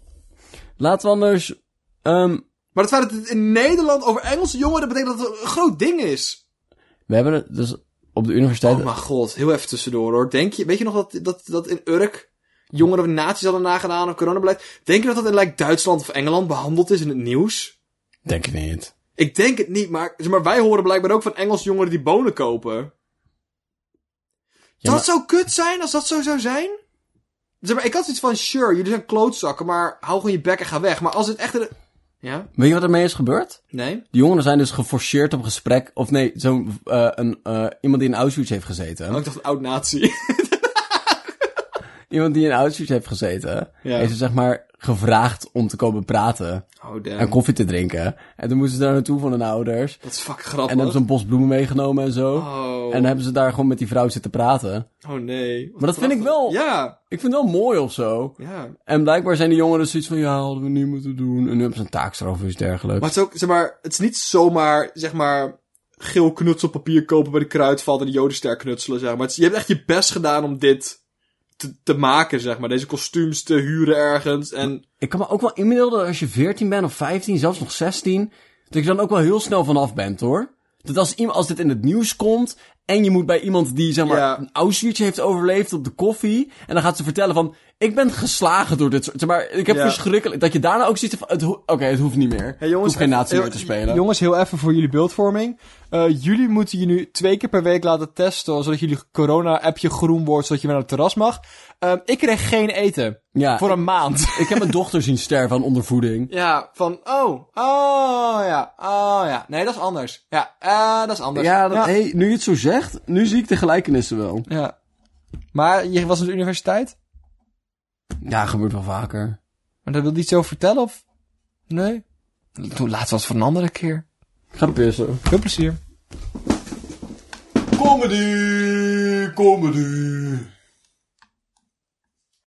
Speaker 1: Laten we anders... ehm,
Speaker 2: Maar het feit dat het in Nederland over Engelse jongeren betekent dat het een groot ding is.
Speaker 1: we hebben het dus op de universiteit...
Speaker 2: Oh mijn god, heel even tussendoor hoor. Denk je, weet je nog dat, dat, dat in Urk jongeren naties hadden nagedaan aan coronabeleid? Denk je dat dat in like, Duitsland of Engeland behandeld is in het nieuws?
Speaker 1: Denk ik niet.
Speaker 2: Ik denk het niet, maar, zeg maar wij horen blijkbaar ook van Engels jongeren die bonen kopen. dat
Speaker 1: maar-
Speaker 2: zou kut zijn als dat zo zou zijn? Zeg maar, ik had iets van, sure, jullie zijn klootzakken, maar hou gewoon je bek en ga weg. Maar als het echt... een- Ja?
Speaker 1: Weet je wat ermee is gebeurd?
Speaker 2: Nee?
Speaker 1: Die jongeren zijn dus geforceerd op gesprek. Of nee, zo'n eh, een, eh, iemand die in Auschwitz heeft gezeten.
Speaker 2: Oh, ik dacht een oud-nazi.
Speaker 1: Iemand die in Auschwitz heeft gezeten.
Speaker 2: Ja.
Speaker 1: Heeft ze zeg maar gevraagd om te komen praten.
Speaker 2: Oh,
Speaker 1: En
Speaker 2: damn.
Speaker 1: koffie te drinken. En toen moesten ze daar naartoe van hun ouders.
Speaker 2: Dat is fucking
Speaker 1: En hebben
Speaker 2: grappig.
Speaker 1: ze een bos bloemen meegenomen en zo.
Speaker 2: Oh,
Speaker 1: En hebben ze daar gewoon met die vrouw zitten praten.
Speaker 2: oh nee.
Speaker 1: Maar dat vind ik wel...
Speaker 2: Ja,
Speaker 1: Ik vind het wel mooi of zo.
Speaker 2: ja.
Speaker 1: En blijkbaar zijn die jongeren zoiets van... Ja, hadden we niet moeten doen. En nu hebben ze een taakstraf of iets dergelijks.
Speaker 2: Maar het is ook, zeg maar, het is niet zomaar, zeg maar, geel knutselpapier kopen bij de kruidvat en de jodenster knutselen, zeg maar. Het is- je hebt echt je best gedaan om dit te, te maken, zeg maar. Deze kostuums te huren ergens en...
Speaker 1: Ik kan me ook wel inbeelden dat als je 14 bent of 15, zelfs nog 16, dat je dan ook wel heel snel vanaf bent hoor. Dat als, iemand, als dit in het nieuws komt en je moet bij iemand die zeg maar
Speaker 2: Ja.
Speaker 1: een Auschwitz heeft overleefd op de koffie en dan gaat ze vertellen van ik ben geslagen door dit soort, zeg maar ik heb
Speaker 2: Ja.
Speaker 1: verschrikkelijk dat je daarna ook ziet van het ho- oké het hoeft niet meer.
Speaker 2: Hey, jongens,
Speaker 1: het hoeft geen nazi
Speaker 2: hey,
Speaker 1: meer te spelen.
Speaker 4: Jongens, heel even voor jullie beeldvorming. Eh, jullie moeten je nu twee keer per week laten testen, zodat jullie corona-appje groen wordt, zodat je weer naar het terras mag. Ehm, ik kreeg geen eten.
Speaker 1: ja,
Speaker 4: Voor een maand.
Speaker 1: ik heb mijn dochter zien sterven aan ondervoeding.
Speaker 2: Ja, van, oh, oh, ja, oh, ja. Nee, dat is anders. Ja, eh, dat is anders.
Speaker 1: Ja, dat,
Speaker 4: Ja.
Speaker 1: Hey, nu je het zo zegt, nu zie ik de gelijkenissen wel.
Speaker 4: Ja. Maar je was op de universiteit?
Speaker 1: Ja, gebeurt wel vaker.
Speaker 4: Maar dat wil niet zo vertellen, of? Nee? Toen laatst was het voor een andere keer.
Speaker 1: Ik ga pissen.
Speaker 4: Veel plezier.
Speaker 2: Comedy, comedy.